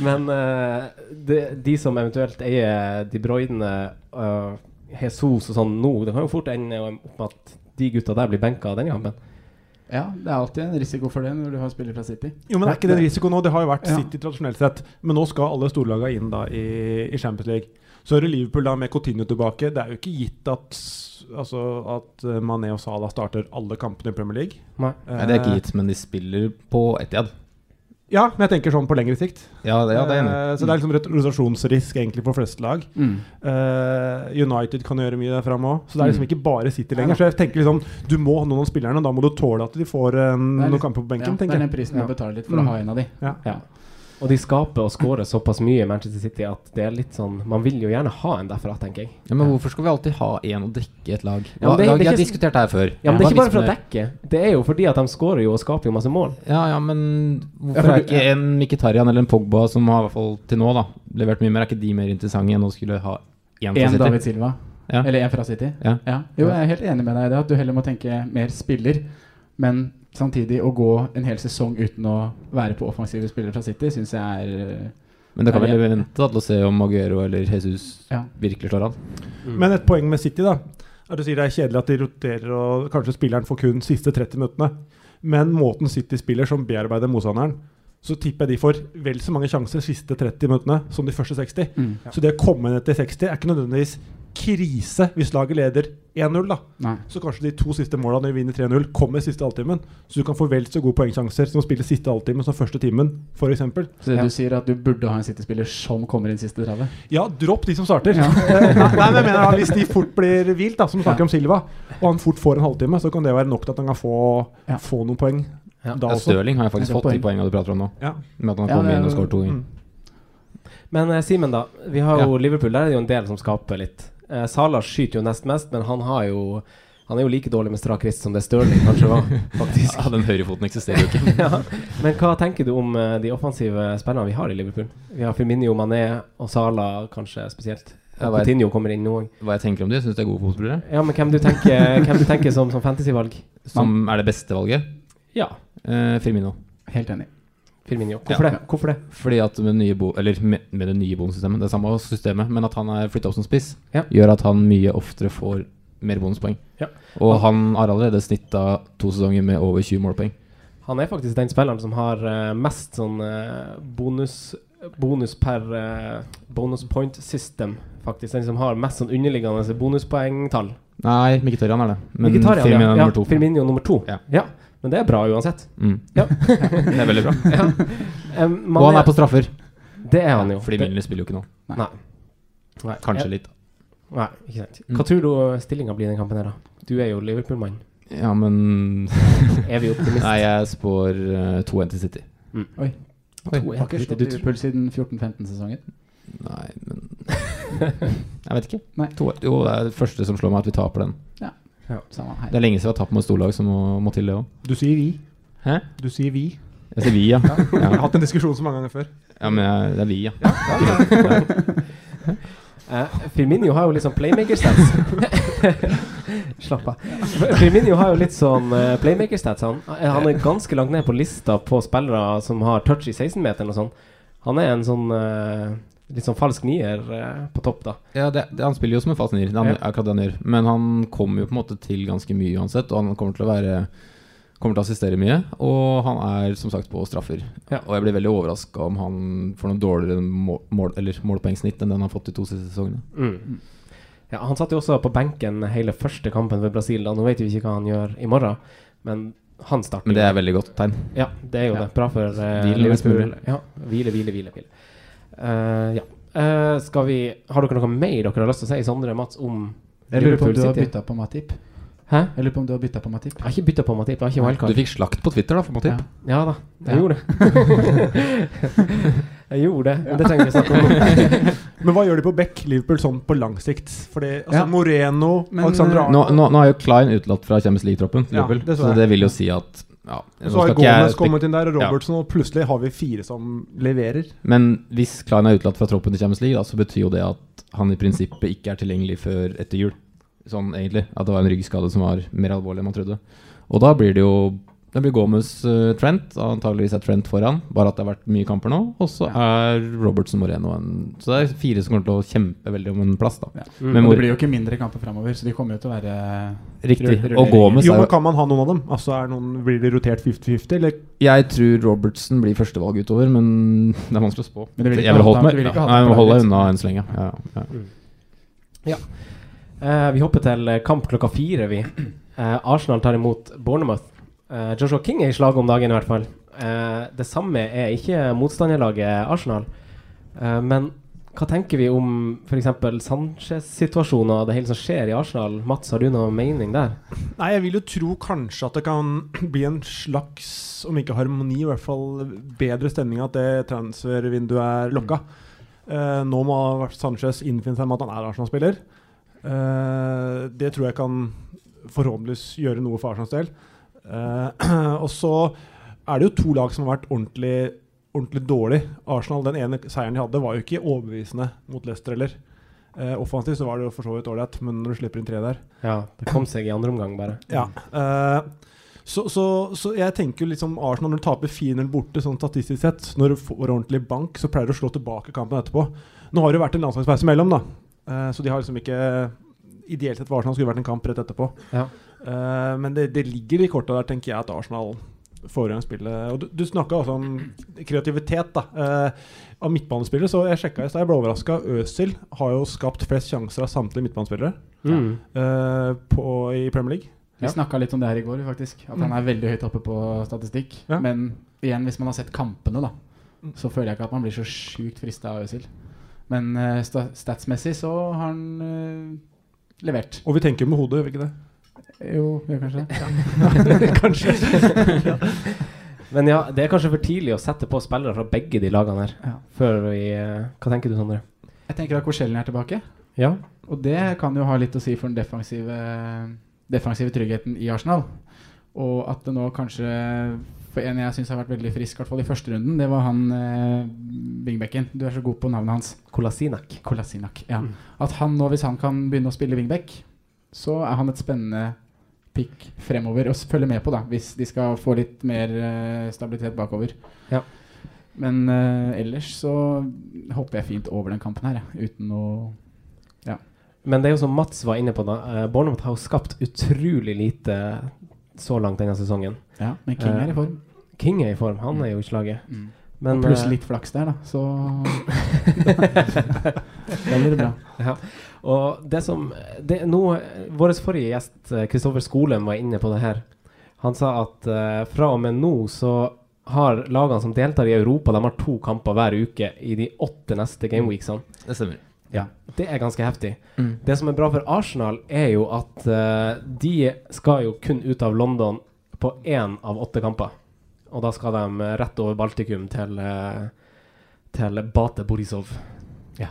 C: Men eh, de, de som eventuelt eier De Bruyne, eh, Jesus og sånn nå, det kan jo fort ende opp med at de gutta der blir benka denne kampen.
D: Ja, det er alltid en risiko for det når du har spiller fra City.
E: Jo, men Det er ikke den risikoen nå. Det har jo vært
D: Ja.
E: City tradisjonelt sett. Men nå skal alle storlagene inn da i, i Champions League. Så er det Liverpool da med Coutinho tilbake. Det er jo ikke gitt at, altså, at eh, Mané og Salah starter alle kampene i Premier League.
C: Nei.
F: Nei, det er ikke gitt, men de spiller på Etiad.
E: Ja, men jeg tenker sånn på lengre sikt.
F: Ja, det- ja, det er jeg enig i.
E: Eh, Så det er liksom rotasjonsrisk egentlig for fleste lag.
F: Mm.
E: Eh, United kan gjøre mye der framme òg, så det er liksom
F: Mm.
E: ikke bare City lenger.
D: Neida.
E: Så jeg tenker liksom, du må ha noen av spillerne, og da må du tåle at de får eh,
D: Det er
E: noen
D: litt-
E: kamper på benken.
D: ja, det er
E: tenker jeg.
D: den prisen jeg
E: Ja.
D: betaler litt for å
E: Mm.
D: ha en av de.
E: Ja.
C: Ja. Og de skaper og skårer såpass mye i Manchester City at det er litt sånn Man vil jo gjerne ha en derfra, tenker jeg.
F: Ja, men hvorfor skal vi alltid ha én å dekke et lag?
C: Ja, men det- det er
F: lag jeg har
C: ikke-
F: diskutert her før.
C: Ja, men Det er
F: Hva
C: ikke bare
F: vitsen
C: for å
F: med-
C: dekke. Det er jo fordi at de skårer jo og skaper jo masse mål.
F: Ja, ja, men
C: Ja,
F: hvorfor
C: for
F: er
C: du-
F: ikke en Mkhitaryan eller en Pogba, som har i hvert fall til nå da levert mye mer, er ikke de mer interessante enn å skulle ha én fra
D: En
F: City?
D: David Silva.
F: Ja.
D: Eller en fra City.
F: Ja.
D: Jo, jeg er helt enig med deg i det, at du heller må tenke mer spiller. Men samtidig å gå en hel sesong uten å være på offensive spillere fra City, syns jeg er eh,
F: Men det kan
D: er
F: vel
D: jevnt.
F: vente da, til å se om Maguero eller Jesus
D: Ja.
F: virkelig slår an.
D: Mm.
E: Men et poeng med City da er at du sier det er kjedelig at de roterer, og kanskje spilleren får kun siste 30 minuttene. Men måten City spiller som bearbeider motstanderen, så tipper jeg de får vel så mange sjanser siste 30 minuttene som de første 60.
D: Mm.
E: Så det å komme ned til 60 er ikke nødvendigvis krise hvis laget leder 1-0. da.
D: Nei.
E: Så kanskje de to siste målene når de vinner 3-0, kommer siste halvtimen. Så du kan få vel så gode poengsjanser som å spille siste halvtimen som første timen, f.eks.
D: Så det du sier er at du burde ha en City-spiller som kommer inn siste 30?
E: Ja, dropp de som starter.
D: Ja.
E: Eh, nei, nei, men jeg mener da, Hvis de fort blir hvilt, da, som du snakker om Silva, og han fort får en halvtime, så kan det være nok til at han kan få, få noen poeng.
C: Ja.
E: da
F: Ja,
E: også.
F: Stirling har jeg faktisk
E: Det er
F: fått de
E: poeng.
F: poengene du prater om nå.
E: Ja.
F: Med at han
C: Ja,
F: kom
C: det-
F: inn og skåret to ganger.
C: Men eh, Simen, da. Vi har jo Liverpool. Der er det jo en del som skaper litt. Eh, Salah skyter jo nest mest, men han har jo Han er jo like dårlig med strak rist som det Stirling kanskje var, faktisk.
F: Ja, den høyrefoten eksisterer jo ikke.
C: ja. Men hva tenker du om eh, de offensive spillerne vi har i Liverpool? Vi har Firmino, Mané og Salah kanskje spesielt.
F: Ja,
C: Og
F: hva er-
C: Coutinho kommer inn nå òg.
F: Hva jeg tenker om de, syns de er gode fotballspillere.
C: Ja, men hvem du tenker, hvem du tenker som, som fantasyvalg?
F: Som er det beste valget?
C: Ja.
F: Eh, Firmino.
D: Helt enig.
C: Firmino. Hvorfor det? Hvorfor det?
F: Fordi at med, nye bo eller med, med det nye bonussystemet, det er samme systemet, men at han er flytta opp som spiss,
C: Ja.
F: gjør at han mye oftere får mer bonuspoeng.
C: Ja.
F: Og han har allerede snitta to sesonger med over 20 målpoeng.
C: Han er faktisk den spilleren som har eh, mest sånn eh, bonus Bonus per eh, bonus point system, faktisk. Den som har mest sånn underliggende bonuspoengtall.
F: Nei, Mkhitaryan er det, men
C: Mkhitaryan, ja.
F: Mm, Firmino
C: Ja,
F: er nummer to.
C: Firmino nummer to. Ja. Men det er bra uansett.
F: Mm.
C: Ja.
F: Det er veldig bra.
C: Ja. Eh, man
F: Og han er på straffer.
C: Det er han jo.
F: Fordi
C: Det-
F: Milner spiller jo ikke nå.
C: Nei. Nei.
F: Kanskje
C: Ja.
F: litt.
C: Nei, ikke sant.
F: Mm.
C: Hva tror du stillinga blir i den kampen her, da? Du er jo Liverpool-mann.
F: Ja, men
C: Er vi optimist?
F: Nei, jeg spår eh, 2-1 til City.
D: Oi.
F: Oi.
D: Har ikke slått Liverpool siden 14-15-sesongen.
F: Nei, men Jeg vet ikke.
D: Nei.
F: To, jo, det er det første som slår meg, at vi taper den.
D: Ja.
C: Ja.
D: Samme her.
F: Det er lenge siden vi har tapt mot storlag, så må, må til det òg.
E: Du sier vi.
F: Hæ?
E: Du sier vi.
F: Jeg sier vi, ja.
E: Ja. Jeg har
F: ja.
E: hatt en diskusjon så mange ganger før.
F: Ja, men jeg, det er vi, ja.
C: Eh, Firmino har jo litt sånn playmaker-stats. Slapp av. Firmino har jo litt sånn eh, playmaker-stats. Han, Eh, han er ganske langt ned på lista på spillere som har touch i 16-meteren og sånn. Han er en sånn eh, litt sånn falsk nier eh, på topp, da.
F: ja det, det, han spiller jo som en fast nier, det er han-
C: Ja.
F: akkurat det han gjør. Men han kommer jo på en måte til ganske mye uansett, og han kommer til å være Kommer til å assistere mye, og han er som sagt på straffer.
C: Ja.
F: Og jeg blir veldig overraska om han får noe dårligere mål, mål, eller målpoengsnitt enn den han har fått de to siste sesongene.
C: Mm. Ja, han satt jo også på benken hele første kampen ved Brasil, da. Nå vet vi ikke hva han gjør i morgen, men han starter.
F: Men det
C: jo.
F: er veldig godt tegn.
C: Ja, det er jo det. Bra for eh,
F: Hvile mest
C: Liverpool.
F: mulig.
C: Ja, hvile, hvile, hvile. hvile. Eh, ja. Eh, skal vi, har dere noe mer dere har lyst til å si, Sondre Mats, om
D: Jeg lurer på om
C: Liverpool
D: du har
C: City?
D: bytta på Matip.
C: Hæ?
D: Jeg lurer på om du har byttet på Matip.
C: Jeg har ikke bytta på Matip. Jeg har ikke
F: Du
C: wildcard.
F: fikk slakt på Twitter, da, for Matip.
C: Ja da, jeg
D: Ja.
C: gjorde det. jeg gjorde det, men det trenger vi ikke snakke om.
E: Men hva gjør de på Beck Liverpool sånn på lang sikt? Fordi altså,
D: Ja.
E: Moreno,
D: Men,
E: Alexander
D: eh,
F: Nå,
E: Arnold
F: nå, nå er jo Klein utelatt fra Champions League-troppen, til
E: Ja,
F: Liverpool,
E: det så
F: så
E: jeg.
F: det vil jo si at ja, nå
E: Så
F: skal
E: har
F: ikke jeg
E: Gomez
F: spek-
E: kommet inn der, og
F: Ja.
E: Robertson, og plutselig har vi fire som leverer.
F: Men hvis Klein er utelatt fra troppen til Champions League, da, så betyr jo det at han i prinsippet ikke er tilgjengelig før etter jul. Sånn egentlig. At det var en ryggskade som var mer alvorlig enn man trodde. Og da blir det jo Det blir Gomez eh, Trent. Antageligvis er Trent foran, bare at det har vært mye kamper nå. Og så er Robertson Moreno en Så det er fire som kommer til å kjempe veldig om en plass, da.
D: Ja.
F: Mm. Men
D: Men
F: hvor-
D: det blir jo ikke mindre kamper framover, så de kommer jo til å være
F: Riktig.
D: rull-
F: Og
D: rulleringer.
F: Gomez
E: Jo,
F: er
E: men
F: jo
E: Kan man ha noen av dem? Altså, er noen, Blir det rotert 50-50, eller
F: Jeg tror Robertson blir førstevalg utover, men det er vanskelig å spå.
D: Men du vil ikke
F: jeg vil
D: ha
F: holde
D: ham-
F: meg
D: du vil ikke ha ham
F: Nei, jeg
D: på
F: må holde
D: laget.
F: deg unna enn så lenge. Ja, ja.
C: Eh, vi hopper til eh, kamp klokka fire, vi. Eh, Arsenal tar imot Bournemouth. Eh, Joshua King er i slaget om dagen, i hvert fall. Eh, det samme er ikke motstanderlaget Arsenal. Eh, men hva tenker vi om f.eks. Sanchez-situasjonen og det hele som skjer i Arsenal? Mats, har du noen mening der?
E: Nei, jeg vil jo tro kanskje at det kan bli en slags, om ikke harmoni, i hvert fall bedre stemning at det transfervinduet er lokka. Eh, nå må Sanchez innfinne seg med at han er Arsenal-spiller. Eh, det tror jeg kan forhåpentligvis gjøre noe for Arsenals del. Eh, og så er det jo to lag som har vært ordentlig, ordentlig dårlig. Arsenal, den ene seieren de hadde, var jo ikke overbevisende mot Leicester heller. Eh, offensivt så var det jo for så vidt ålreit, men når du slipper inn tre der
C: Ja, det kom seg i andre omgang, bare.
E: ja. eh, så, så, så jeg tenker jo liksom Arsenal når du taper 4-0 borte, sånn statistisk sett, når du får ordentlig bank, så pleier du å slå tilbake kampen etterpå. Nå har det jo vært en landslagspause mellom, da. Eh, så de har liksom ikke Ideelt sett for Arsenal skulle det vært en kamp rett etterpå.
C: Ja.
E: Eh, men det, det ligger i korta der, tenker jeg, at Arsenal får igjen spillet. Og du, du snakka også om kreativitet, da. Eh, av midtbanespillere, så jeg sjekka i stad, jeg ble overraska. Øzil har jo skapt flest sjanser av samtlige midtbanespillere
D: Mm.
E: eh, på, i Premier League.
D: Vi snakka litt om det her i går, faktisk. At han
F: Mm.
D: er veldig høyt oppe på statistikk. Men igjen, hvis man har sett kampene, da,
F: Mm.
D: så føler jeg ikke at man blir så sjukt frista av Øzil. Men eh, sta statsmessig så har han eh, levert.
E: Og vi tenker med hodet, gjør vi ikke det?
D: Jo, gjør kanskje det.
C: Men ja, det er kanskje for tidlig å sette på spillere fra begge de lagene her. Før vi eh, Hva tenker du, Sondre?
D: Jeg tenker at Korselny er tilbake.
C: Ja.
D: Og det kan jo ha litt å si for den defensive, defensive tryggheten i Arsenal. Og at det nå kanskje For en jeg syns har vært veldig frisk, i hvert fall i første runden, det var han eh, wingbacken. Du er så god på navnet hans.
C: Kolasinak. Mm.
D: Kolasinak, ja. At han nå, hvis han kan begynne å spille wingback, så er han et spennende pick fremover å s- følge med på, da, hvis de skal få litt mer eh, stabilitet bakover.
C: Ja.
D: Men eh, ellers så hopper jeg fint over den kampen her, jeg, uten å Ja.
C: Men det er jo som Mats var inne på, da. eh, Bournemouth har jo skapt utrolig lite så langt denne sesongen.
D: Ja, men King er i form.
C: Eh, King er i form. Han er jo i slaget.
D: Mm.
C: Men,
D: og pluss
C: eh,
D: litt flaks der, da, så Da blir det bra.
C: Ja. Og det som det, nå, Vår forrige gjest, eh, Kristoffer Skolem, var inne på det her. Han sa at eh, fra og med nå så har lagene som deltar i Europa, de har to kamper hver uke i de åtte neste gameweeksene.
F: Det stemmer.
C: Ja, Det er ganske heftig.
F: Mm.
C: Det som er bra for Arsenal, er jo at eh, de skal jo kun ut av London på én av åtte kamper. Og da skal de eh, rett over Baltikum til, eh, til Bate Borisov. Ja.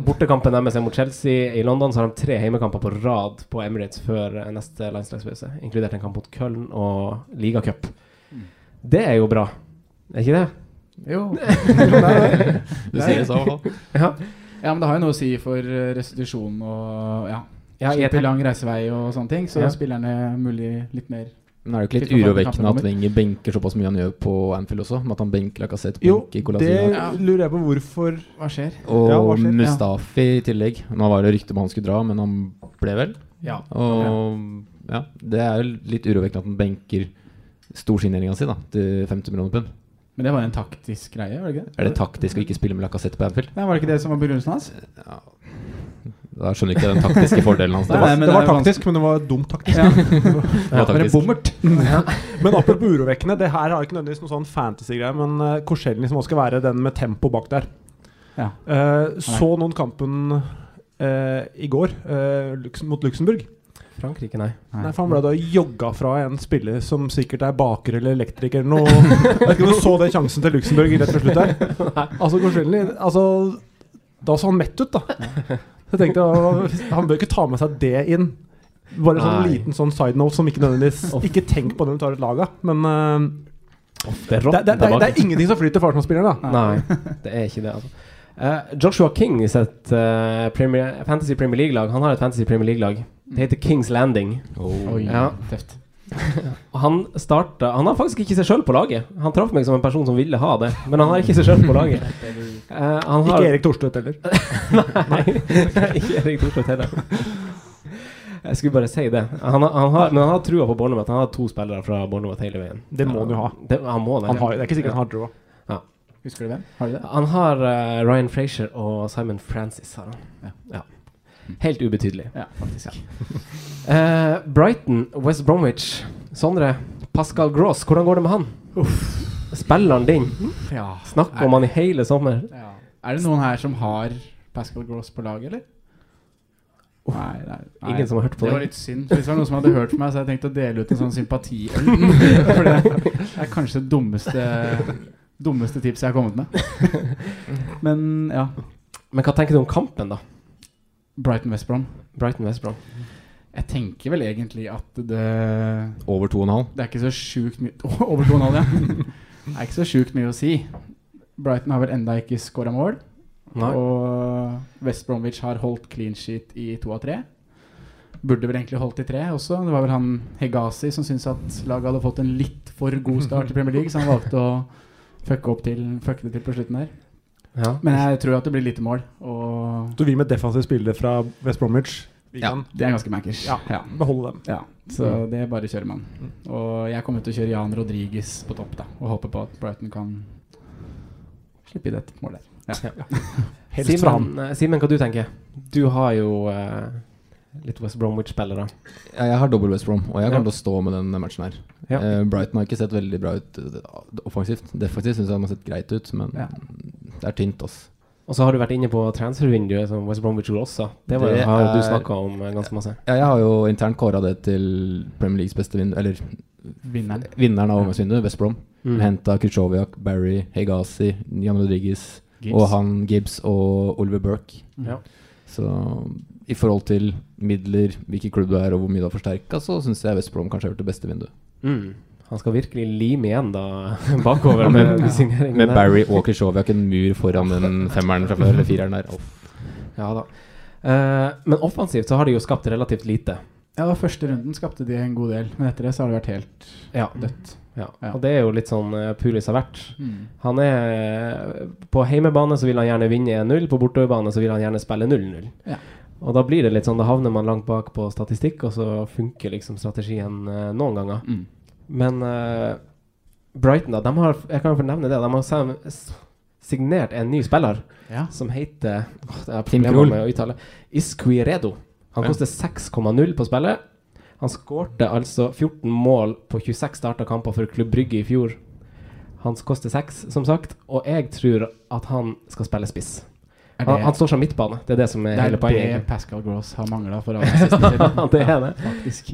C: Bortekampen deres er mot Chelsea. I London så har de tre heimekamper på rad på Emirates før eh, neste landslagspause, inkludert en kamp mot Köln og ligacup. Det er jo bra, er ikke det?
D: Jo.
C: Du sier det så, i hvert fall.
D: Ja. ja, men det har jo noe å si for eh, restitusjon og ja.
C: Ja, jeg
D: Slipper
C: tenk-
D: lang reisevei og sånne ting, så
C: Ja.
D: spillerne mulig litt mer
F: Men er det ikke litt
D: Litt for faen i kampen
F: urovekkende at
D: kommer.
F: Wenger benker såpass mye han gjør på Anfield også? Med at han benker Lacassette,
E: Jo,
F: benker
E: det
F: Colasina
E: lurer jeg på hvorfor
D: Hva skjer?
F: og
E: Ja, hva skjer?
F: Mustafi i tillegg. Nå var det rykte om han skulle dra, men han ble vel.
C: Ja.
F: Og ja, det er jo litt urovekkende at han benker storsigneringa si da, til 50 millioner pund.
D: Men det var en taktisk greie, var det ikke det?
F: Er det taktisk å ikke spille med Lacassette på Anfield?
D: Nei, var det ikke det som var begrunnelsen hans?
F: Da skjønner jeg ikke den taktiske fordelen hans.
E: Det var, det var
F: er jo
E: taktisk, men det var dumt taktisk.
F: Ja. Det var
E: Ja,
F: taktisk.
E: Ja. men apropos urovekkende, det her har ikke nødvendigvis noen sånn fantasy-greie, men uh, Korselny som også skal være den med tempo bak der.
D: Ja.
E: Eh, så noen kampen eh, i går eh, Lux mot Luxembourg.
C: Frankrike, nei.
E: Nei, for Han ble da jogga fra en spiller som sikkert er baker eller elektriker eller noe. Jeg vet ikke om du så den sjansen til Luxembourg rett før slutt der? Altså, Korselny altså, Da så han mett ut, da. Så jeg tenkte jeg, Han bør ikke ta med seg det inn. Bare en sånn
C: Nei.
E: liten sånn side note som ikke nødvendigvis Ikke tenk på det når du tar ut laga, men eh,
C: det, er
E: det,
C: rått
E: det, det,
C: der bak.
E: er ingenting som flyter for Arsenal-spilleren, da.
C: Nei, det er ikke det, altså. Eh, Joshua King i sitt eh, Premier, Fantasy Premier League-lag Han har et Fantasy Premier League-lag. Det heter Kings Landing.
D: Oi,
C: Ja.
D: tøft.
C: Og Han starta Han har faktisk ikke seg sjøl på laget. Han traff meg som en person som ville ha det, men han har ikke seg sjøl på laget. Eh, han har-
E: Ikke Erik Thorstvedt heller.
C: Nei, ikke Erik Thorstvedt heller. Jeg skulle bare si det. Han, har- han har, men han har trua på Bornermouth. Han har to spillere fra Bornermouth hele veien.
E: Det må han jo ha.
C: Det, han må det.
E: Han har, det er ikke sikkert han har draw.
C: Ja.
D: Husker du hvem? Har du det?
C: Han har eh, Ryan Frazier og Simon Francis. Har han. Ja. Helt ubetydelig.
D: Ja, faktisk.
C: Eh, Brighton, West Bromwich. Sondre, Pascal Gross, hvordan går det med han? Spilleren din.
D: Ja.
C: Snakk om han i hele sommer.
D: Er det noen her som har Pascal Gross på lag, eller? Nei, nei, nei.
C: Ingen som har hørt på
D: det?
C: det.
D: var litt synd. for Hvis det var noen som hadde hørt på meg, så hadde jeg tenkt å dele ut en sånn sympatiøl. For det er kanskje det dummeste, dummeste tipset jeg har kommet med. Men ja.
C: Men hva tenker du om kampen, da?
D: Brighton West Brom.
C: Brighton West Brom.
D: Jeg tenker vel egentlig at det
F: Over 2,5?
D: Det er ikke så sjukt mye Over 2,5, ja. Det er ikke så sjukt mye å si. Brighton har vel enda ikke skåra mål.
C: Nei.
D: Og West Bromwich har holdt clean sheet i to av tre. Burde vel egentlig holdt i tre også. Det var vel han Hegazi som syntes at laget hadde fått en litt for god start i Premier League, så han valgte å fucke, opp til, fucke det til på slutten der.
C: Ja.
D: Men jeg tror at det blir lite mål. Og
E: Så vi med defensive spillere fra West Bromwich vi
D: Ja,
E: kan-
D: det er ganske bankers.
E: Ja,
D: Ja. Mm.
E: Beholde dem.
D: Ja, så det bare kjører man. Og jeg kommer til å kjøre Jan Rodriguez på topp, da. Og håper på at Brighton kan slippe inn et mål der. Helst fra
C: Simen, eh, Simen, hva du tenker Du har jo eh, litt West Bromwich-spillere.
F: Ja, jeg har dobbel West Brom, og jeg
C: Ja.
F: kommer til å stå med den matchen her.
C: Ja.
F: Eh, Brighton har ikke sett veldig bra ut eh, offensivt. Defensivt syns jeg de har sett greit ut, men
D: Ja.
F: det er tynt, ass.
C: Og så har du vært inne på transfervinduet som West Bromwich gjorde også. Det var
F: Det
C: jo har jo du
F: er-
C: snakka om eh, ganske masse.
F: Ja, jeg har jo internt kåra det til Premier Leagues beste vinner, eller
D: Vinneren.
F: vinneren av overgangsvinduet, West Brom.
C: Mm.
F: Mm. Henta Khrusjtsjoviak, Barry, Hegazi, Jan Rodriguez
C: Gibbs. Mm.
F: og han Gibbs og Oliver Burke.
C: Ja.
F: Så i forhold til midler, hvilken klubb du er og hvor mye du har forsterka, så syns jeg West Brom kanskje har gjort det beste vinduet.
C: Mm. Han skal virkelig lime igjen da bakover med, med signeringen.
F: med
C: der.
F: Barry og Khrusjtsjovjak en mur foran den femmeren fra før, eller fireren der.
C: Ja da. Eh, men offensivt så har de jo skapt relativt lite.
D: Ja, og første runden skapte de en god del, men etter det så har det vært helt
C: Ja.
D: dødt.
C: Ja. Og det er jo litt sånn eh, Pulis har vært.
D: Mm.
C: Han er På heimebane så vil han gjerne vinne 1-0, på bortebane så vil han gjerne spille 0-0.
D: Ja.
C: Og da blir det litt sånn, da havner man langt bak på statistikk, og så funker liksom strategien eh, noen ganger.
D: Mm.
C: Men eh, Brighton, da, de har, jeg kan jo få nevne det, de har sam- s- signert en ny spiller
D: Ja.
C: som heter åh, det er
F: Tim
C: problemer
F: Krul.
C: med å uttale Isquiredo. Han
F: Ja.
C: koster 6,0 på spillet. Han skårte altså 14 mål på 26 starta kamper for Klubb Brygge i fjor. Han koster 6, som sagt, og jeg tror at han skal spille spiss.
D: Er det-
C: Han, han står som midtbane, det er det som er,
D: Det er
C: hele poenget.
D: det Pascal Gross har mangla for alle siste
C: Ja, det er det.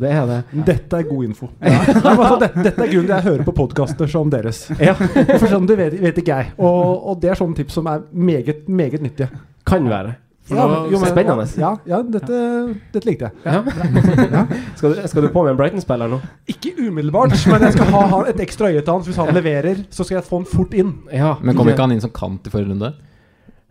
C: Det er det.
E: Dette er god info. Nei, men altså, dette, dette er grunnen til jeg hører på podkaster som deres. For sånn, det vet, vet ikke jeg. Og, og det er sånne tips som er meget, meget nyttige.
C: Kan være. For
E: Ja,
C: nå-
E: jo, men-
C: spennende.
E: Ja, ja dette, dette likte jeg.
C: Ja. Skal, du, skal du på med en Brighton-spiller nå?
E: Ikke umiddelbart, men jeg skal ha han- et ekstra øye til han. så Hvis han leverer, så skal jeg få han fort inn.
C: Ja.
F: Men kom ikke han inn som kant i forrige runde?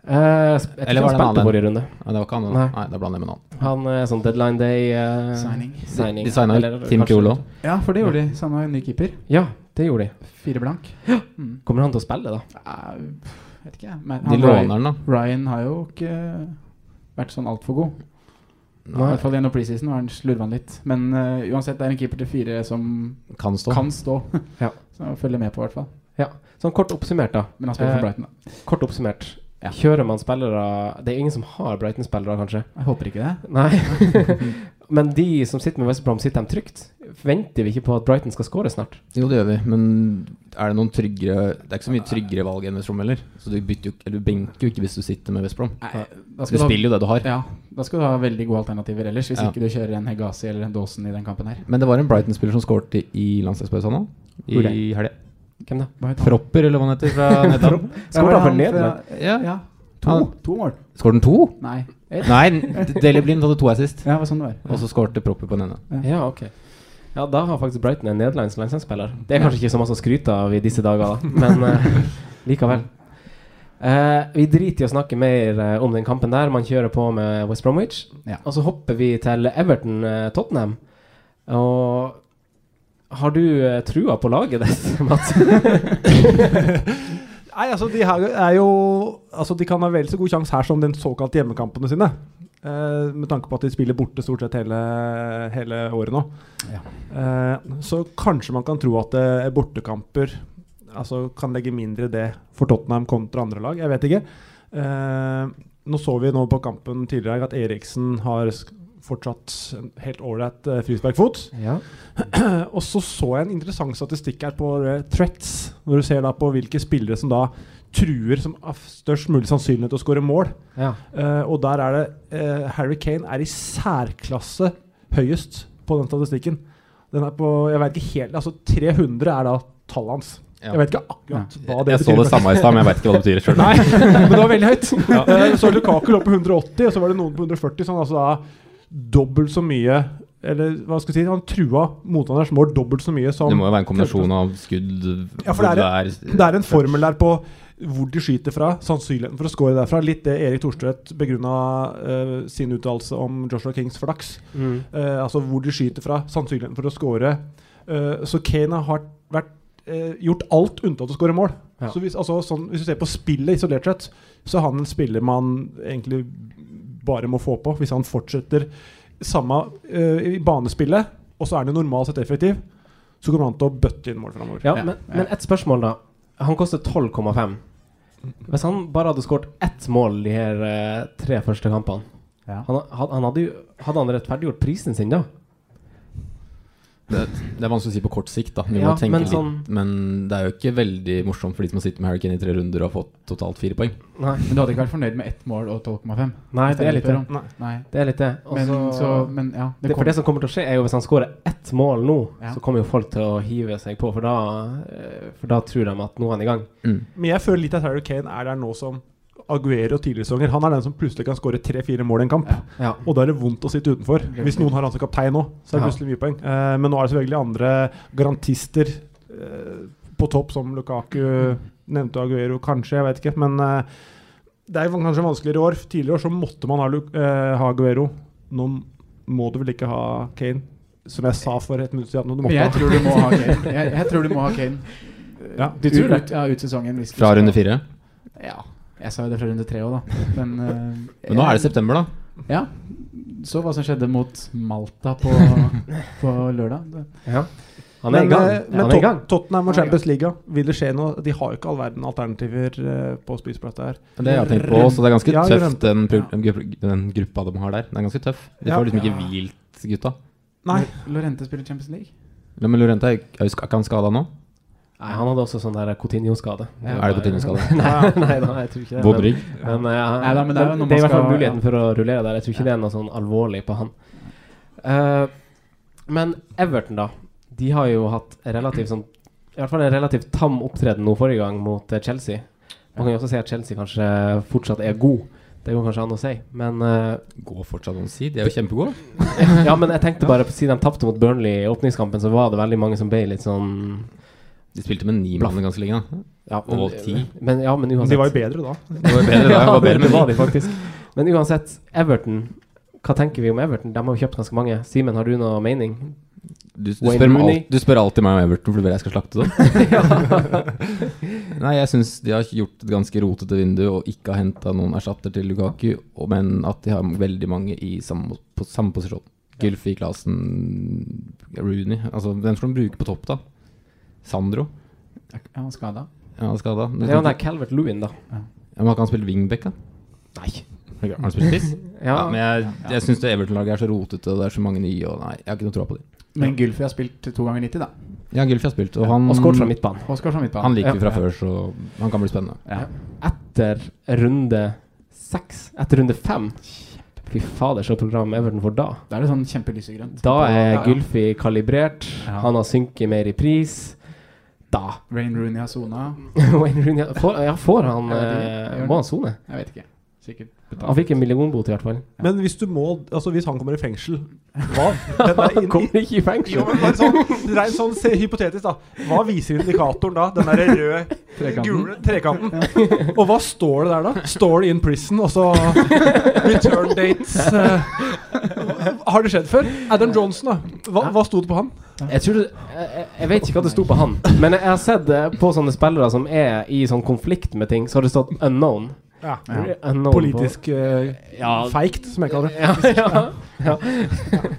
C: Eh, sp- Eh, jeg
F: Eller
C: tror han
F: var det en
C: spilte
F: annen?
C: forrige runde.
F: Nei, det var ikke han.
C: Nei.
F: Nei, Nei da blander jeg med en annen.
C: Han er sånn deadline day eh,
D: Signing.
C: signing.
F: De signa
C: Eller
F: Tim
C: kanskje-
F: Krul òg.
D: Ja, for det gjorde de. Samme ny keeper.
C: Ja, det gjorde de.
D: Fire blank.
C: Kommer han til å spille, da?
D: Ja, vet ikke, jeg. Men
F: De
D: han-
F: låner den, da.
D: Ryan har jo ikke vært sånn altfor god. I hvert fall gjennom preseason var han slurvan litt. Men eh, uansett, det er en keeper til fire som
F: Kan stå.
D: kan stå.
C: Ja.
D: Så følger med på, i hvert fall.
C: Ja. Sånn kort oppsummert, da.
D: Men han spiller for
C: Eh,
D: Brighton, da.
C: Kort oppsummert.
D: Ja.
C: Kjører man spillere Det er ingen som har Brighton-spillere, kanskje?
D: Jeg håper ikke det.
C: Nei. Men de som sitter med West Brom, sitter de trygt? Venter vi ikke på at Brighton skal skåre snart?
F: Jo, det gjør vi, men er det noen tryggere Det er ikke så mye tryggere valg enn West Brom heller. Så du, bytter jo, ikke- eller du benker jo ikke hvis du sitter med West Brom.
D: Nei, da
F: Du spiller jo det du har.
D: Ja, da skal du ha veldig gode alternativer ellers, hvis
F: Ja.
D: ikke du kjører en Hegazi eller en Dawson i den kampen her.
F: Men det var en Brighton-spiller som skårte i landslagspausen nå. I
C: Ulrein.
F: helga.
C: Hvem da?
D: Hva het han?
F: Fropper, eller hva han heter. Fra Nederland.
C: Skåret han for Nederland?
D: fra-
F: Ja.
D: Ja. To,
F: Han-
D: to mål.
F: Skåret han to?
D: Nei. Ett.
F: Nei, Deli Blind hadde to assist.
D: Ja, det var sånn det var.
F: Og så skårte Propper på den ene.
C: Ja, ok. Ja, da har faktisk Brighton en nederlandsk landslagsspiller. Det er kanskje ikke så masse å skryte av i disse dager, da, men eh, likevel. Eh, vi driter i å snakke mer eh, om den kampen der. Man kjører på med West Bromwich.
D: Ja.
C: Og så hopper vi til Everton-Tottenham. og har du eh, trua på laget deres, Mats?
E: Nei, altså de her er jo Altså de kan ha vel så god sjanse her som den såkalte hjemmekampene sine. Eh, med tanke på at de spiller borte stort sett hele, hele året nå. Eh, så kanskje man kan tro at eh, bortekamper altså, kan legge mindre i det for Tottenham kontra andre lag. Jeg vet ikke. Eh, nå så vi nå på kampen tidligere i dag at Eriksen har sk- fortsatt en helt ålreit eh, frisparkfot.
C: Ja.
E: og så så jeg en interessant statistikk her på eh, threats, når du ser da på hvilke spillere som da truer som har størst mulig sannsynlighet til å skåre mål.
C: Ja.
E: Eh, og der er det eh, Harry Kane er i særklasse høyest på den statistikken. Den er på jeg vet ikke helt, altså 300 er da tallet hans.
F: Ja.
E: Jeg vet ikke akkurat
F: Ja.
E: hva det
F: Jeg så det samme i stad, men jeg vet ikke hva det betyr selv.
E: Nei, men det var veldig høyt.
F: Ja.
E: Eh, Så Lukaku lå på 180, og så var det noen på 140. Så han altså da dobbelt så mye Eller hva skal jeg si, han trua motstanderens mål dobbelt så mye som
F: Det må jo være en kombinasjon av skudd
E: ja, for det er,
F: hvor
E: det er en formel der på hvor de skyter fra, sannsynligheten for å score derfra. Litt det Erik Thorstvedt begrunna eh, sin uttalelse om Joshua Kings flaks.
C: Mm.
E: Eh, altså hvor de skyter fra, sannsynligheten for å score. Eh, så Kane har vært, eh, gjort alt unntatt å score mål.
C: Ja.
E: Så hvis, altså, sånn, hvis du ser på spillet isolert sett, så er han en spiller man egentlig bare må få på. Hvis han fortsetter samme eh, i banespillet, og så er han jo normalt sett effektiv, så kommer han til å bøtte inn mål framover.
C: Ja, men, men et spørsmål, da. Han koster 12,5. Hvis han bare hadde skåret ett mål de her eh, tre første kampene han, had- han hadde, jo, hadde han rettferdiggjort prisen sin, da?
F: Det, det er vanskelig å si på kort sikt, da. Vi
C: Ja,
F: må tenke
C: men
F: men, litt,
C: sånn-
F: men det er jo ikke veldig morsomt for de som har sittet med Harry Kane i tre runder og har fått totalt fire poeng.
D: Men du hadde ikke vært fornøyd med ett mål og 12,5?
C: Nei, det er litt det.
D: Nei. Nei.
C: Det er litt det. Og
D: Men så-
C: så-
D: men ja,
C: Altså-
D: det
C: det, for
D: kom-
C: det som kommer til å skje, er jo hvis han skårer ett mål nå,
D: Ja.
C: så kommer jo folk til å hive seg på, for da, eh, for da tror de at nå er han i gang.
E: Men jeg føler litt at Harry Kane er der nå som Aguero tidligere sesonger. Han er den som plutselig kan skåre tre-fire mål i en kamp.
C: Ja.
E: Og da er det vondt å sitte utenfor. Hvis noen har han som kaptein nå, så er det
C: Ja.
E: plutselig mye poeng. Eh, men nå er det selvfølgelig andre garantister eh, på topp, som Lukaku nevnte Aguero, kanskje, jeg vet ikke. Men eh, det er kanskje vanskeligere i år. Tidligere år så måtte man ha, Lu eh, ha Aguero. Nå må du vel ikke ha Kane, som jeg sa for et minutt siden. Du måtte
D: Men jeg
E: ha-
D: tror du må ha Kane. Jeg, jeg tror du må ha Kane.
E: Ja.
D: Du tror det? Ja, ut sesongen. hvis du
F: Fra
D: skal-
F: runde fire?
D: Ja. Jeg sa jo det fra runde tre òg, da. Men, eh,
F: Men nå er det september, da.
D: Ja. Så hva som skjedde mot Malta på, på lørdag.
C: Ja.
E: men eh, men Tot- Tottenham
D: Han er
E: og
D: i
E: Champions League, vil det skje noe? De har jo ikke all verden alternativer eh, på spiseplata her.
F: Det har jeg tenkt på også. Det er ganske
E: Ja,
F: tøft,
E: Rønte.
F: den, pro- gru- den gruppa de har der. Den er ganske tøff. De
E: Ja.
F: får liksom ikke
D: Ja.
F: hvilt gutta.
E: Nei.
D: Lorente spiller Champions League.
F: Ja, Men Lorente, er er jo sk- er ikke han skada nå?
C: Nei, han hadde også sånn der Coutinho-skade.
F: Er det Coutinho-skade?
C: nei, nei, nei, jeg tror ikke det.
F: Vådrygg?
C: Men, men, eh,
D: Nei da, men det er
C: det er i
D: jo når man
C: hvert fall
D: skal-
C: muligheten for å rullere der. Jeg tror ikke det er noe sånn alvorlig på han. Eh, men Everton, da. De har jo hatt relativt sånn I hvert fall en relativt tam opptreden nå forrige gang mot eh, Chelsea. Man kan jo også si at Chelsea kanskje fortsatt er god. Det går kanskje an å si, men eh,
F: Går fortsatt an å si? De er jo kjempegode.
C: ja, men jeg tenkte bare på Siden de tapte mot Burnley i åpningskampen, så var det veldig mange som ble litt sånn
F: De spilte med ni mann ganske lenge, da.
C: Ja,
F: Og ti.
C: Men, ja, men uansett
E: De var jo bedre da.
F: De var jo bedre da,
C: ja,
F: de var bedre,
C: det
F: men-
C: var de faktisk. Men uansett, Everton Hva tenker vi om Everton? De har jo kjøpt ganske mange. Simen, har du noe mening?
F: Du, du,
C: Wayne
F: spør meg
C: Rooney.
F: alt, du spør alltid meg om Everton, for du vil jeg skal slakte dem. Nei, jeg syns de har gjort et ganske rotete vindu og ikke har henta noen erstatter til Lukaku, og- men at de har veldig mange i samme, på samme posisjon. Gylfi, Klasen, Rooney Altså hvem skal de bruke på topp, da? Sandro?
D: Er han skada?
F: Ja, han er skada.
C: Det er jo den der Calvert Lewin, da.
F: Ja, men har ikke han spilt wingback, da? Nei. Har han spilt spiss?
C: Ja.
F: men jeg, jeg syns Everton-laget er så rotete, og det er så mange nye, og nei, jeg har ikke noe tro på dem.
D: Men Gylfi har spilt to ganger 90, da.
F: Ja, Gylfi har spilt, og han
C: Og skåret fra midtbanen.
D: Og skåret fra midtbanen.
F: Han liker vi fra
D: Ja.
F: før, så han kan bli spennende.
D: Ja.
C: Etter runde seks, etter runde fem Fy fader, så program Everton får da.
D: Da er det sånn kjempelysegrønt.
C: Da er
D: Ja, ja.
C: Gylfi kalibrert.
D: Ja.
C: Han har synket mer i pris. Da
D: Wayne Rooney har sona.
C: Wayne Rooney får, Ja, får han
D: Jeg vet ikke.
C: eh,
D: Gjør
C: Må
D: han?
C: han sone?
D: Jeg vet ikke. Sikkert betalt.
C: Han fikk en millionbot, i hvert fall.
E: Men hvis du må Altså hvis han kommer i fengsel, hva? Den er inn-
C: Kommer ikke i
E: Jo,
C: fengsel.
E: men bare sånn, rent sånn se, hypotetisk, da. Hva viser indikatoren da? Den derre røde,
D: Trekanten.
E: gule trekanten. Og hva står det der, da? Står det 'in prison', og så Return dates. eh. Har det skjedd før? Adam Johnson, da. Hva, hva sto det på han?
C: Jeg, tror, det- jeg, jeg- jeg vet ikke hva det sto på han, men jeg har sett eh, på sånne spillere som er i sånn konflikt med ting, så har det stått 'unknown'.
E: Ja.
C: Unknown
E: Politisk eh,
C: Ja.
E: feigt, som jeg kaller det.
C: På, ja, ja, ja.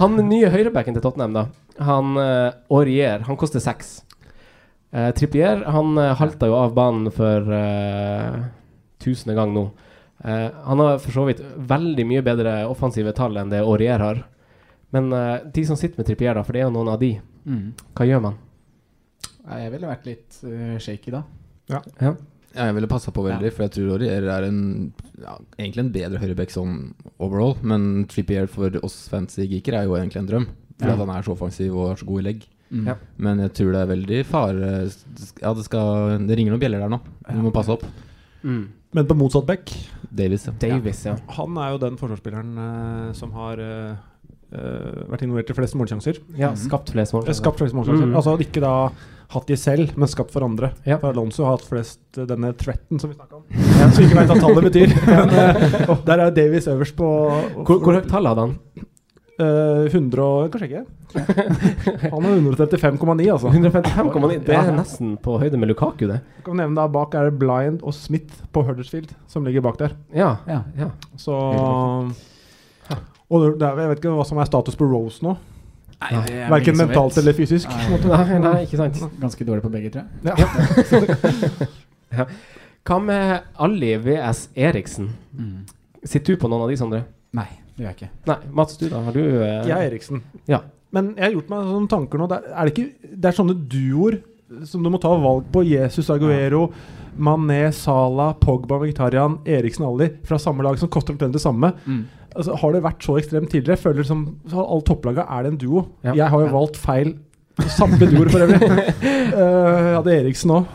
C: Han nye høyrebacken til Tottenham, da, han eh, Aurier, han koster seks. Eh, Trippier han eh, halta jo av banen for eh, tusende gang nå. Eh, han har for så vidt veldig mye bedre offensive tall enn det Aurier har. Men eh, de som sitter med Trippier, da, for det er jo noen av de,
D: Mm.
C: hva gjør man?
D: Nei, Jeg ville vært litt eh, shaky da.
C: Ja.
F: Ja, jeg ville passa på veldig, for jeg tror Aurier er en ja, egentlig en bedre høyreback sånn overall. Men Trippier for oss fancy geeker er jo egentlig en drøm. Fordi
C: Ja.
F: at han er så offensiv og har så god i legg.
C: Mm. Ja.
F: Men jeg tror det er veldig fare Ja, det, skal, det ringer noen bjeller der nå. Du må passe opp.
C: Mm.
E: Men på motsatt back
F: Davis, ja.
E: Han er jo den forsvarsspilleren eh, som har eh, eh, vært involvert i flest målsjanser.
C: Ja, Mhm. skapt flest målsjanser.
E: Eh, Skapt flest målsjanser.
C: Mhm.
E: Altså ikke da hatt de selv, men skapt for andre. For Alonso har hatt flest eh, denne threaten som vi snakka om. Som vi ikke veit hva tallet betyr. Men, eh, og der er Davies øverst på
C: Hvor, hvor høyt tall hadde han?
E: Eh, 100 og Kanskje ikke. Han er 135,9, altså.
C: 155,9. Det er nesten på høyde med Lukaku, det.
E: Jeg kan nevne da Bak er det Blind og Smith på Huddersfield, som ligger bak der.
C: Ja, ja.
E: Så Og det- det er, jeg vet ikke hva som er status på Rose nå.
D: Nei, det er vel
E: Verken
D: ingen som
E: mentalt
D: vet.
E: eller fysisk.
D: Nei.
E: på en måte.
C: Nei, nei, ikke sant.
D: Ganske dårlig på begge, tror jeg.
E: Ja.
C: Ja. Hva med Ali VS Eriksen?
D: Mm.
C: Sitter du på noen av de, Sondre?
D: Nei, det gjør jeg ikke.
C: Nei, Mats, du da? Har du eh,
E: Jeg er Eriksen.
C: Ja.
E: Men jeg har gjort meg sånne tanker nå. Det er, er det, ikke, det er sånne duoer som du må ta valg på. Jesus Aguero, Mané, Salah, Pogba, Vegetarian, Eriksen Ali fra samme lag som koster omtrent det samme.
D: Mm.
E: Altså, har det vært så ekstremt tidligere? Jeg Føler som så Alle topplagene er det en duo.
C: Ja.
E: Jeg har jo valgt feil. Samme duoer, for øvrig. Eh, jeg hadde Eriksen òg.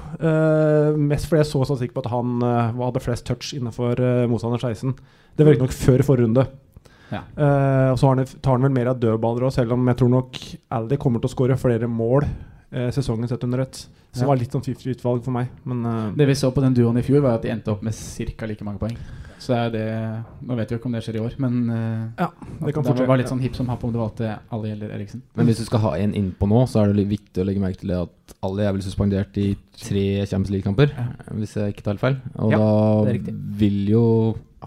E: mest fordi jeg så statistikk på at han eh, hadde flest touch innenfor uh, motstander 16. Det var riktignok før forrige runde.
D: Ja.
E: Eh, og så har han, tar han vel mer av dødballer òg, selv om jeg tror nok Aldi kommer til å skåre flere mål eh, sesongen sett under ett.
D: Ja.
E: Så det var litt sånn fiffig utvalg for meg, men eh,
D: Det vi så på den duoen i fjor, var at de endte opp med ca. like mange poeng. Så det er det Nå vet vi jo ikke om det skjer i år, men eh,
E: Ja, det kan
D: at det
E: fortsette,
D: var litt
E: ja.
D: sånn hipp som happ om du valgte Ali eller Eriksen.
F: Men hvis du skal ha en innpå nå, så er det litt viktig å legge merke til det at Ali er vel suspendert i tre Champions League-kamper, hvis jeg ikke tar feil. Og
D: Ja, det er
F: da
D: riktig.
F: vil jo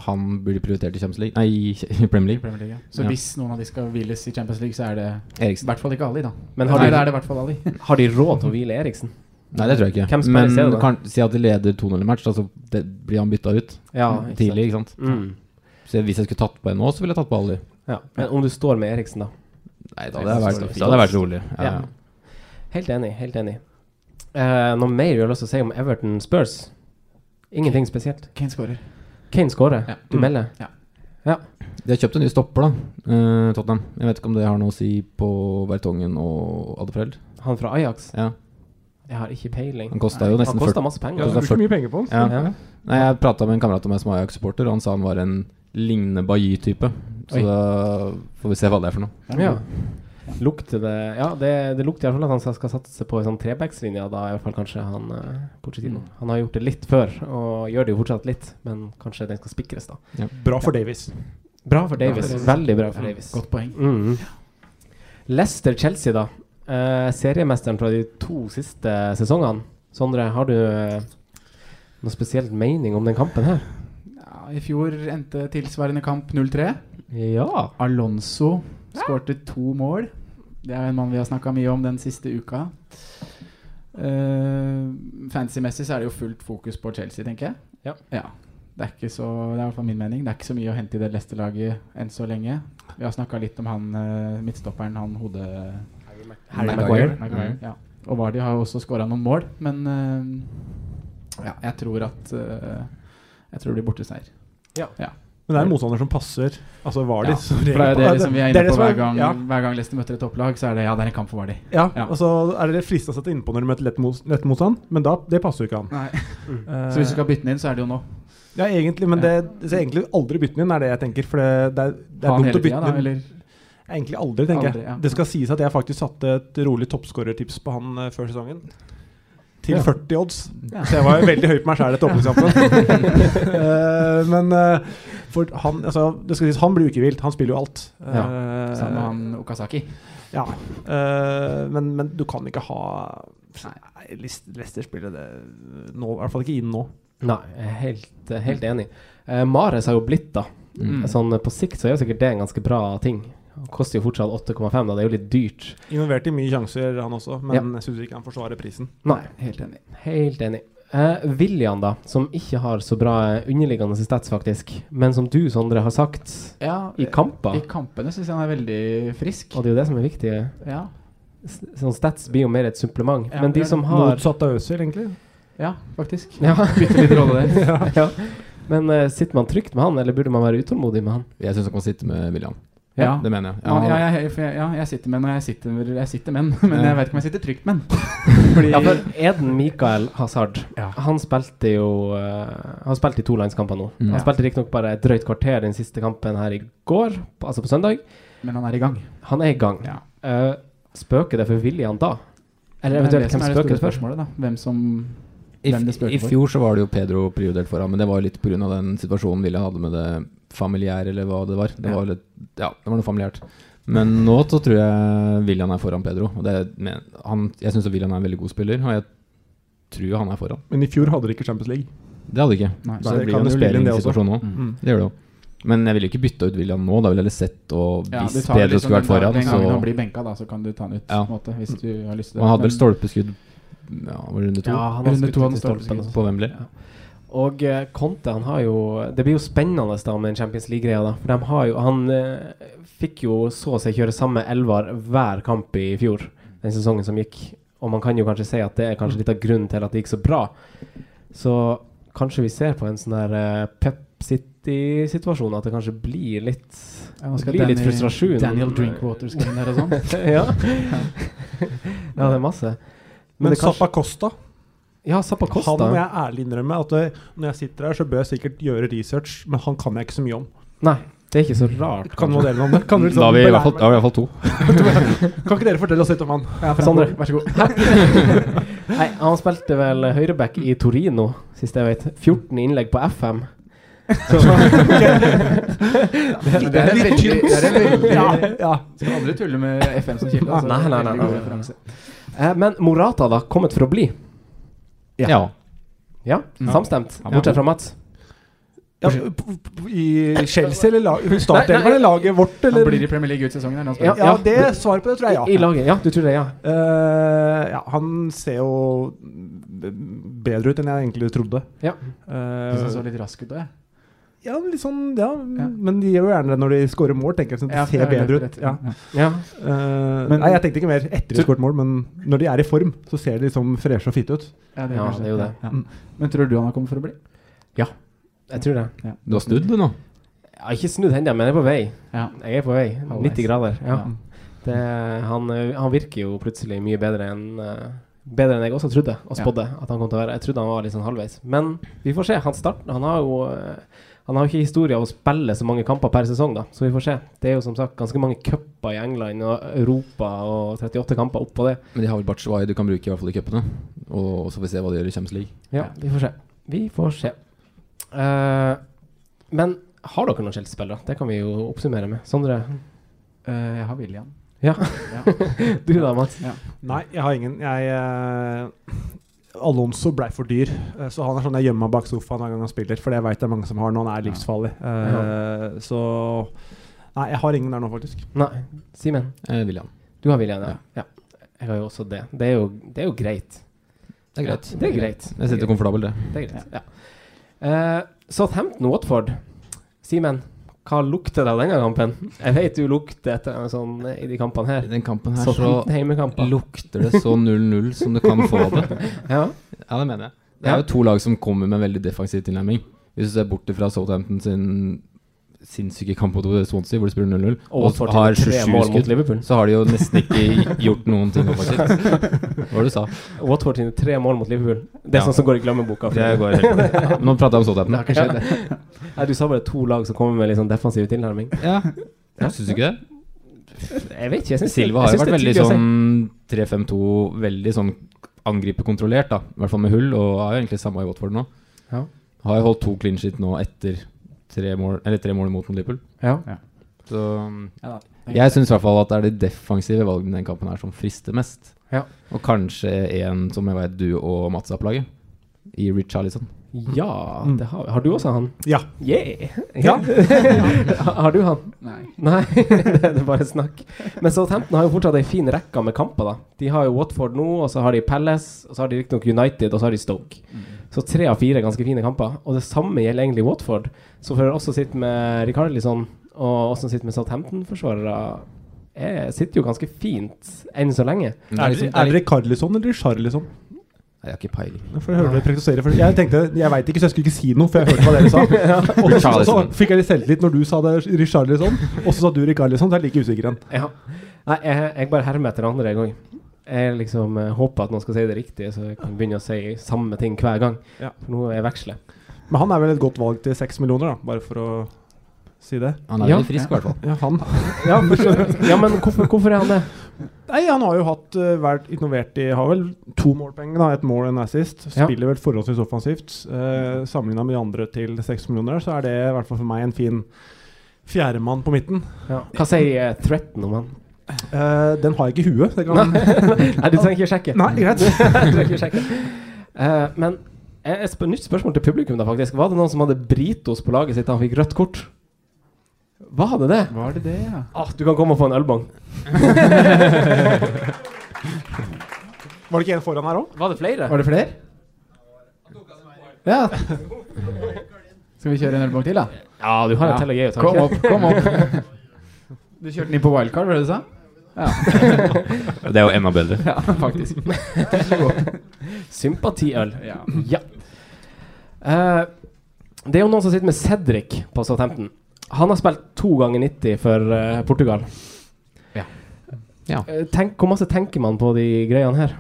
F: han bli prioritert i Champions League Nei, i Premier League.
D: Premier League, ja. Så
F: Ja.
D: hvis noen av de skal hviles i Champions League, så er det i
F: Eriksen.
D: hvert fall ikke Ali, da.
C: Men har
D: Nei,
C: de-
D: da er det i hvert fall Ali.
C: Har de råd til å hvile Eriksen?
F: Nei, det tror jeg ikke.
C: Hvem spiller i stedet,
F: Men
C: da?
F: kan, si at de leder 2-0-match, da, så det, blir han bytta ut
C: Ja, ikke
F: tidlig. ikke
C: sant.
F: sant?
C: Mm.
F: Så Hvis jeg skulle tatt på en nå, så ville jeg tatt på Ali.
C: Ja. Men om du står med Eriksen, da?
F: Nei, da hadde jeg vært- da hadde jeg vært rolig. Ja, ja.
C: Helt enig. Helt enig. Eh, noe mer du har lyst til å si om Everton Spurs? Ingenting spesielt.
D: Kane skårer.
C: Kane skårer. Du melder?
D: Ja.
C: Ja.
F: De har kjøpt en ny stopper, da, eh, Tottenham. Jeg vet ikke om det har noe å si på Vertongen og Adfred.
C: Han fra Ajax?
F: Ja.
C: Jeg har ikke peiling.
F: Han kosta jo nesten
C: Han kosta
F: 40
C: masse penger.
F: kostet 40 Ja.
C: Ja.
F: Nei, jeg prata med en kamerat av meg som er Ajax-supporter, og han sa han var en lignende Bailly-type. Så
C: Oi.
F: da får vi se hva det er for noe.
C: Ja. Lukter det Ja, det, det lukter i hvert fall at han skal- skal satse på en sånn trebackslinje. Da i hvert fall kanskje han eh, Pochettino. Han har gjort det litt før, og gjør det jo fortsatt litt, men kanskje den skal spikres, da.
F: Ja.
E: bra for Davies.
C: Bra for Davis.
E: Davies.
C: Veldig bra for
E: Ja,
C: Davis.
D: godt poeng.
C: Mm. Leicester-Chelsea, da. Eh, seriemesteren fra de to siste sesongene. Sondre, har du eh, noe spesielt mening om den kampen her?
D: Ja, I fjor endte tilsvarende kamp 0-3.
C: Ja.
D: Alonso skårte to mål. Det er en mann vi har snakka mye om den siste uka. Uh, Fancy-messig så er det jo fullt fokus på Chelsea, tenker jeg.
C: Ja.
D: Det er ikke så, det er i hvert fall min mening. Det er ikke så mye å hente i det Leicester-laget enn så lenge. Vi har snakka litt om han eh, midtstopperen, han hode...
C: Harry Maguire.
D: Maguire,
C: Mm.
D: Ja. Og Vardy har jo også skåra noen mål, men eh, ja, jeg tror at eh, Jeg tror det blir borteseier.
C: Ja.
D: ja.
E: Men det er en motstander som passer. Altså Vardy.
D: Ja,
E: som
D: for det
E: regel-
D: er jo det som vi er
E: det
D: inne på
E: som er-
D: hver gang,
E: Ja. Eh,
D: hver gang Leicester møter et topplag, så er det ja, det er en kamp for Vardy.
E: Ja,
D: Ja.
E: og så er det fristende å sette innpå når du møter lett, mos- lett motstand, men da, det passer jo ikke an.
D: Nei.
E: Eh,
D: Så hvis du skal bytte den inn, så er det jo nå.
E: Ja, egentlig, men det, så egentlig aldri bytte den inn, er det jeg tenker. For det, det er, det
D: Ha den
E: er dumt å
D: hele
E: bytte
D: tida, da,
E: den
D: eller?
E: inn. Egentlig aldri, tenker
D: Aldri,
E: jeg.
D: ja.
E: Det skal sies at jeg faktisk satte et rolig toppskårertips på han eh, før sesongen. Til
D: Ja.
E: 40 odds.
D: Ja.
E: Så jeg var jo veldig høy på meg sjæl etter åpningskampen. Eh, men eh, for han altså, det skal sies, han blir jo ikke vilt. Han spiller jo alt.
D: Ja,
E: Eh,
D: sammen med han Okazaki.
E: Ja. eh, men, men du kan ikke ha Nei, Leicester spiller det eh, nå, i hvert fall ikke inn nå.
C: Nei, jeg er helt, helt enig. Eh, Mares har jo blitt, da.
E: Mm.
C: Sånn, eh, på sikt så er jo sikkert det en ganske bra ting. Han koster jo fortsatt 8,5, da. Det er jo litt dyrt.
E: Involvert i mye sjanser, han også, men jeg syns ikke han forsvarer prisen.
C: Nei.
D: Helt enig.
C: Helt enig. Eh, William, da, som ikke har så bra eh, underliggende stats, faktisk, men som du, Sondre, har sagt
D: Ja,
C: i kamper,
D: I kampene syns jeg han er veldig frisk.
C: og det er jo det som er viktig eh,
D: Ja.
C: S- Sånn stats blir jo mer et supplement.
D: Ja,
C: men de
D: det er
C: som
D: det.
C: har
E: Motsatt av Øzil, egentlig.
D: Ja, faktisk.
C: Ja.
D: Bytter litt rolle der.
C: ja. Men eh, sitter man trygt med han, eller burde man være utålmodig med han?
F: Jeg syns han kan sitte med William.
D: Ja.
F: Det mener jeg.
D: Ja,
F: han-
D: ja, jeg, for jeg, ja, jeg sitter med den, og jeg sitter, jeg sitter med den, men jeg vet ikke om jeg sitter trygt med den. Fordi
C: Ja, for Eden Mikael Hazard Han spilte jo eh, Han spilte i to landskamper nå.
D: Mm.
C: Han
D: Ja.
C: spilte riktignok bare et drøyt kvarter den siste kampen her i går, på- altså på søndag.
D: Men han er i gang.
C: Han er i gang. Eh, spøker det for William da? Eller
D: Det er
C: eventuelt
D: det som
C: hvem
D: er
C: spøker
D: det
C: det
D: store
C: for?
D: spørsmålet, da. Hvem som
F: I,
D: Hvem det
F: f- I
D: spøker for.
F: fjor så var det jo Pedro prioritert foran, men det var jo litt pga. den situasjonen Ville hadde med det familiære, eller hva det var. Det
D: Ja.
F: var litt, ja, det var noe familiært. Men nå så tror jeg William er foran Pedro. Og det, men han, jeg syns William er en veldig god spiller, og jeg tror han er foran.
E: Men i fjor hadde de ikke Champions League.
F: Det hadde de ikke.
D: Nei.
E: Så
F: så
E: det
F: det blir
E: kan
F: jo en
E: jo spille inn det også.
F: utligningssituasjon nå.
E: Mm.
F: Det gjør det jo. Men jeg ville jo ikke bytta ut William nå. Da ville jeg heller sett og
D: Ja, du
F: hvis
D: tar
F: Pedro
D: liksom
F: skulle vært
D: den dagen-
F: foran,
D: Den
F: så
D: gangen han blir benka, da, så kan du ta han ut, på
F: Ja.
D: en måte, hvis du har lyst til det.
F: Og han hadde vel
D: Men-
F: stolpeskudd ja, var det runde to?
C: Ja, han har
D: Runde
C: skutt
D: to
C: ut i
D: hadde han
C: stolpen.
F: på Wembley.
C: Og eh, Conte han har jo Det blir jo spennende da med den Champions League-greia. da For de har jo Han eh, fikk jo så å si kjøre samme elver hver kamp i fjor, den sesongen som gikk. Og man kan jo kanskje si at det er kanskje litt av grunnen til at det gikk så bra. Så kanskje vi ser på en sånn der eh, Pep City-situasjon at det kanskje blir litt
D: Ja, nå skal
C: blir litt
D: Danny-
C: frustrasjon.
D: Daniel Drinkwater skal inn der og sånn.
C: ja. ja, det er masse.
E: Men
C: det kanskje-
E: Zappa Costa
C: Ja, Zappa Costa.
E: Han må jeg ærlig innrømme at eh, når jeg sitter her, så bør jeg sikkert gjøre research, men han kan jeg ikke så mye om.
C: Nei, det er ikke så rart.
E: Kan
C: kanskje.
E: noen dele om det? Kan, dere
F: Da har vi i hvert fall-
E: belære
F: da har vi i hvert fall to.
E: meg? kan ikke dere fortelle oss litt om han?
C: Sondre,
D: vær så god.
C: Nei, han spilte vel høyreback i Torino, sist jeg vet. 14 innlegg på FM. Så,
D: Det er en veldig, det er en veldig
E: Ja, ja.
D: Skal aldri tulle med FM som kilde. Altså,
C: Nei, nei, nei, nei,
D: Veldig god
C: nei.
D: referanse.
C: eh, men Morata, da. Kommet for å bli.
F: Ja.
C: Ja, samstemt.
F: Ja.
C: Bortsett fra Mats.
E: ja p- p- I Chelsea eller lag- startelveren
C: Nei, nei.
E: eller laget vårt,
D: Han
E: eller?
D: blir i Premier League ut sesongen. her, når han
C: Ja.
D: spiller.
E: Ja, det svaret på det tror jeg ja.
C: I laget. Ja, du tror det, ja.
E: Eh, ja, han ser jo b- bedre ut enn jeg egentlig trodde.
C: Ja.
E: Eh,
D: Jeg synes han så litt rask ut òg, jeg.
E: ja, litt sånn, ja, Men de gjør jo gjerne det når de scorer mål, tenker jeg. Så de
D: Ja,
E: ser
D: jeg er
E: bedre
D: rett-
E: ut. Ja.
D: ja.
C: ja.
E: Eh,
D: Men-
E: nei, jeg tenkte ikke mer etter de skåret mål, men når de er i form, så ser de liksom freshe og fitte ut.
D: Ja,
C: Ja,
D: kanskje-
C: det er jo det.
D: ja. Mm. Men tror du han har kommet for å bli?
C: Jeg tror det.
F: Du har snudd, du nå?
C: Jeg har ikke snudd hendene, men jeg er på vei.
D: Ja.
C: Jeg er på vei.
D: Halvveis.
C: 90 grader. Ja.
D: Ja.
C: Det, han, eh, han virker jo plutselig mye bedre enn eh, Bedre enn jeg også trodde og
D: Ja.
C: spådde at han kom til å være. Jeg trodde han var litt sånn halvveis. Men vi får se. Han start, han har jo eh, Han har jo ikke historie av å spille så mange kamper per sesong, da. Så vi får se. Det er jo som sagt ganske mange cuper i England og Europa og 38 kamper oppå det.
F: Men de har vel Batshuayi du kan bruke i hvert fall i cupene. Og så får vi se hva de gjør i Champions League.
C: Ja, vi får se. Vi får se. Eh, men har dere noen Chelsea-spillere? Det kan vi jo oppsummere med. Sondre?
D: Eh, jeg har William.
C: Ja.
D: Ja.
C: Du da, Mats?
E: Nei, jeg har ingen. Jeg eh, Alonso blei for dyr, eh, så han er sånn jeg gjemmer meg bak sofaen hver gang han spiller. For det veit jeg mange som har når han er
D: Ja.
E: livsfarlig. Eh, Så Nei, jeg har ingen der nå, faktisk.
C: Nei. Simen?
F: Eh, William.
C: Du har William, ja. ja. Jeg har jo også det. Det er jo, det er jo greit.
F: Det er greit.
C: Ja, det er greit.
F: Jeg sitter komfortabel, det.
C: Det er greit. Ja. Eh, Southampton Watford. Simen, hva lukter det av denne kampen? Jeg vet du lukter etter en sånn eh, i de kampene
F: I
C: her.
F: den kampen her så
C: Southampton heimekamper.
F: lukter det så 0-0 som du kan få det.
C: Ja.
F: Ja, det mener jeg. Det er jo to lag som kommer med en veldig defensiv tilnærming. Hvis du ser bort fra Southampton sin sinnssyke kamp mot Swansea, hvor de spiller 0-0,
C: Og
F: og
C: Watford
F: har
C: tre
F: 27
C: mål mot
F: skudd,
C: Liverpool.
F: så har de jo nesten ikke gjort noen ting offensivt. Hva var det du sa?
C: Watford sine tre mål mot Liverpool. Det er
F: Ja.
C: sånn som går i glemmeboka.
F: Det går helt bra. Nå prater jeg om Southampton.
C: har ikke skjedd, det. Nei, du sa bare to lag som kommer med litt sånn defensiv tilnærming.
F: Ja. Syns du ikke det?
C: Jeg vet ikke. Jeg synes det-
F: Silva har
C: jeg synes
F: jo vært
C: det
F: veldig
C: er tydelig å si.
F: sånn 3-5-2, veldig sånn angriperkontrollert, da. I hvert fall med hull, og er jo egentlig samme i Watford nå.
C: Ja.
F: Har jo holdt to clean shit nå etter tre mål, eller tre mål mot Liverpool.
C: Ja.
F: Så
D: Ja, da.
F: jeg syns i hvert fall at det er de defensive valgene i den kampen her som frister mest.
C: Ja.
F: Og kanskje en som jeg veit du og Mats har plaget, i Richarlison.
C: ja det har, vi. har du også han?
E: Mm. Ja.
C: Yeah!
E: Ja.
C: Ha- har du han?
D: Nei.
C: Nei, det er bare snakk. Men Southampton har jo fortsatt ei fin rekke med kamper, da. De har jo Watford nå, og så har de Palace, og så har de riktignok United, og så har de Stoke. Så tre av fire ganske fine kamper. Og det samme gjelder egentlig Watford, som for også sitter med Rikarlison, og også sitter med Southampton-forsvarere. eh, Sitter jo ganske fint enn så lenge.
E: Er liksom- det, er det Carlisson eller Charlison?
F: Jeg har ikke peiling.
E: For jeg hørte dere praktisere for Jeg tenkte, jeg veit ikke, så jeg skulle ikke si noe, for jeg hørte hva dere sa.
C: Ja.
E: Og så, så, så
C: Richarlison.
E: fikk jeg litt selvtillit når du sa det, Richarlison, og så sa du Ricarlison, så jeg er like usikker igjen.
C: Ja. Nei, jeg, jeg bare hermer etter andre en gang. Jeg liksom eh, håper at noen skal si det riktig, så jeg kan begynne å si samme ting hver gang.
E: Ja.
C: For nå er jeg veksler.
E: Men han er vel et godt valg til seks millioner, da, bare for å si det.
F: Han er Ja. veldig frisk, i hvert fall.
E: Ja, han.
C: Ja, for så- ja, men hvorfor- hvorfor er han det?
E: Nei, Han har jo hatt, eh, vært involvert i har vel to målpenger, da, et mål og en assist.
C: Ja.
E: Spiller vel forholdsvis offensivt. Uh, Sammenligna med de andre til seks millioner, så er det i hvert fall for meg en fin fjerdemann på midten.
C: Ja. Hva sier eh, threaten om han?
E: Eh, den har jeg ikke i huet. så jeg
C: Nei,
E: kan-
C: nei, du trenger ikke sjekke.
E: Nei, greit.
C: Du trenger ikke sjekke. Eh, men eh, et sp nytt spørsmål til publikum, da, faktisk. Var det noen som hadde Britos på laget sitt da han fikk rødt kort? Var det det?
D: Var det det, ja?
C: Ah, du kan komme og få en ølbong.
E: Var det ikke en foran her òg?
C: Var det flere?
D: Var det flere? Ja. Skal vi kjøre en ølbong til, da?
C: Ja, du har en til å gi ut, har
D: Kom
C: du
D: opp,
C: ikke?
D: kom opp. Du kjørte den inn på wildcard, var det det du sa? Ja.
G: Det er jo enda bedre.
D: Ja, faktisk. Vær så god.
C: Sympatiøl.
D: Ja.
C: ja. Eh, det er jo noen som sitter med Cedric på Southampton. Han har spilt to ganger 90 for eh, Portugal.
F: Ja.
C: Eh, tenk, hvor masse tenker man på de greiene her?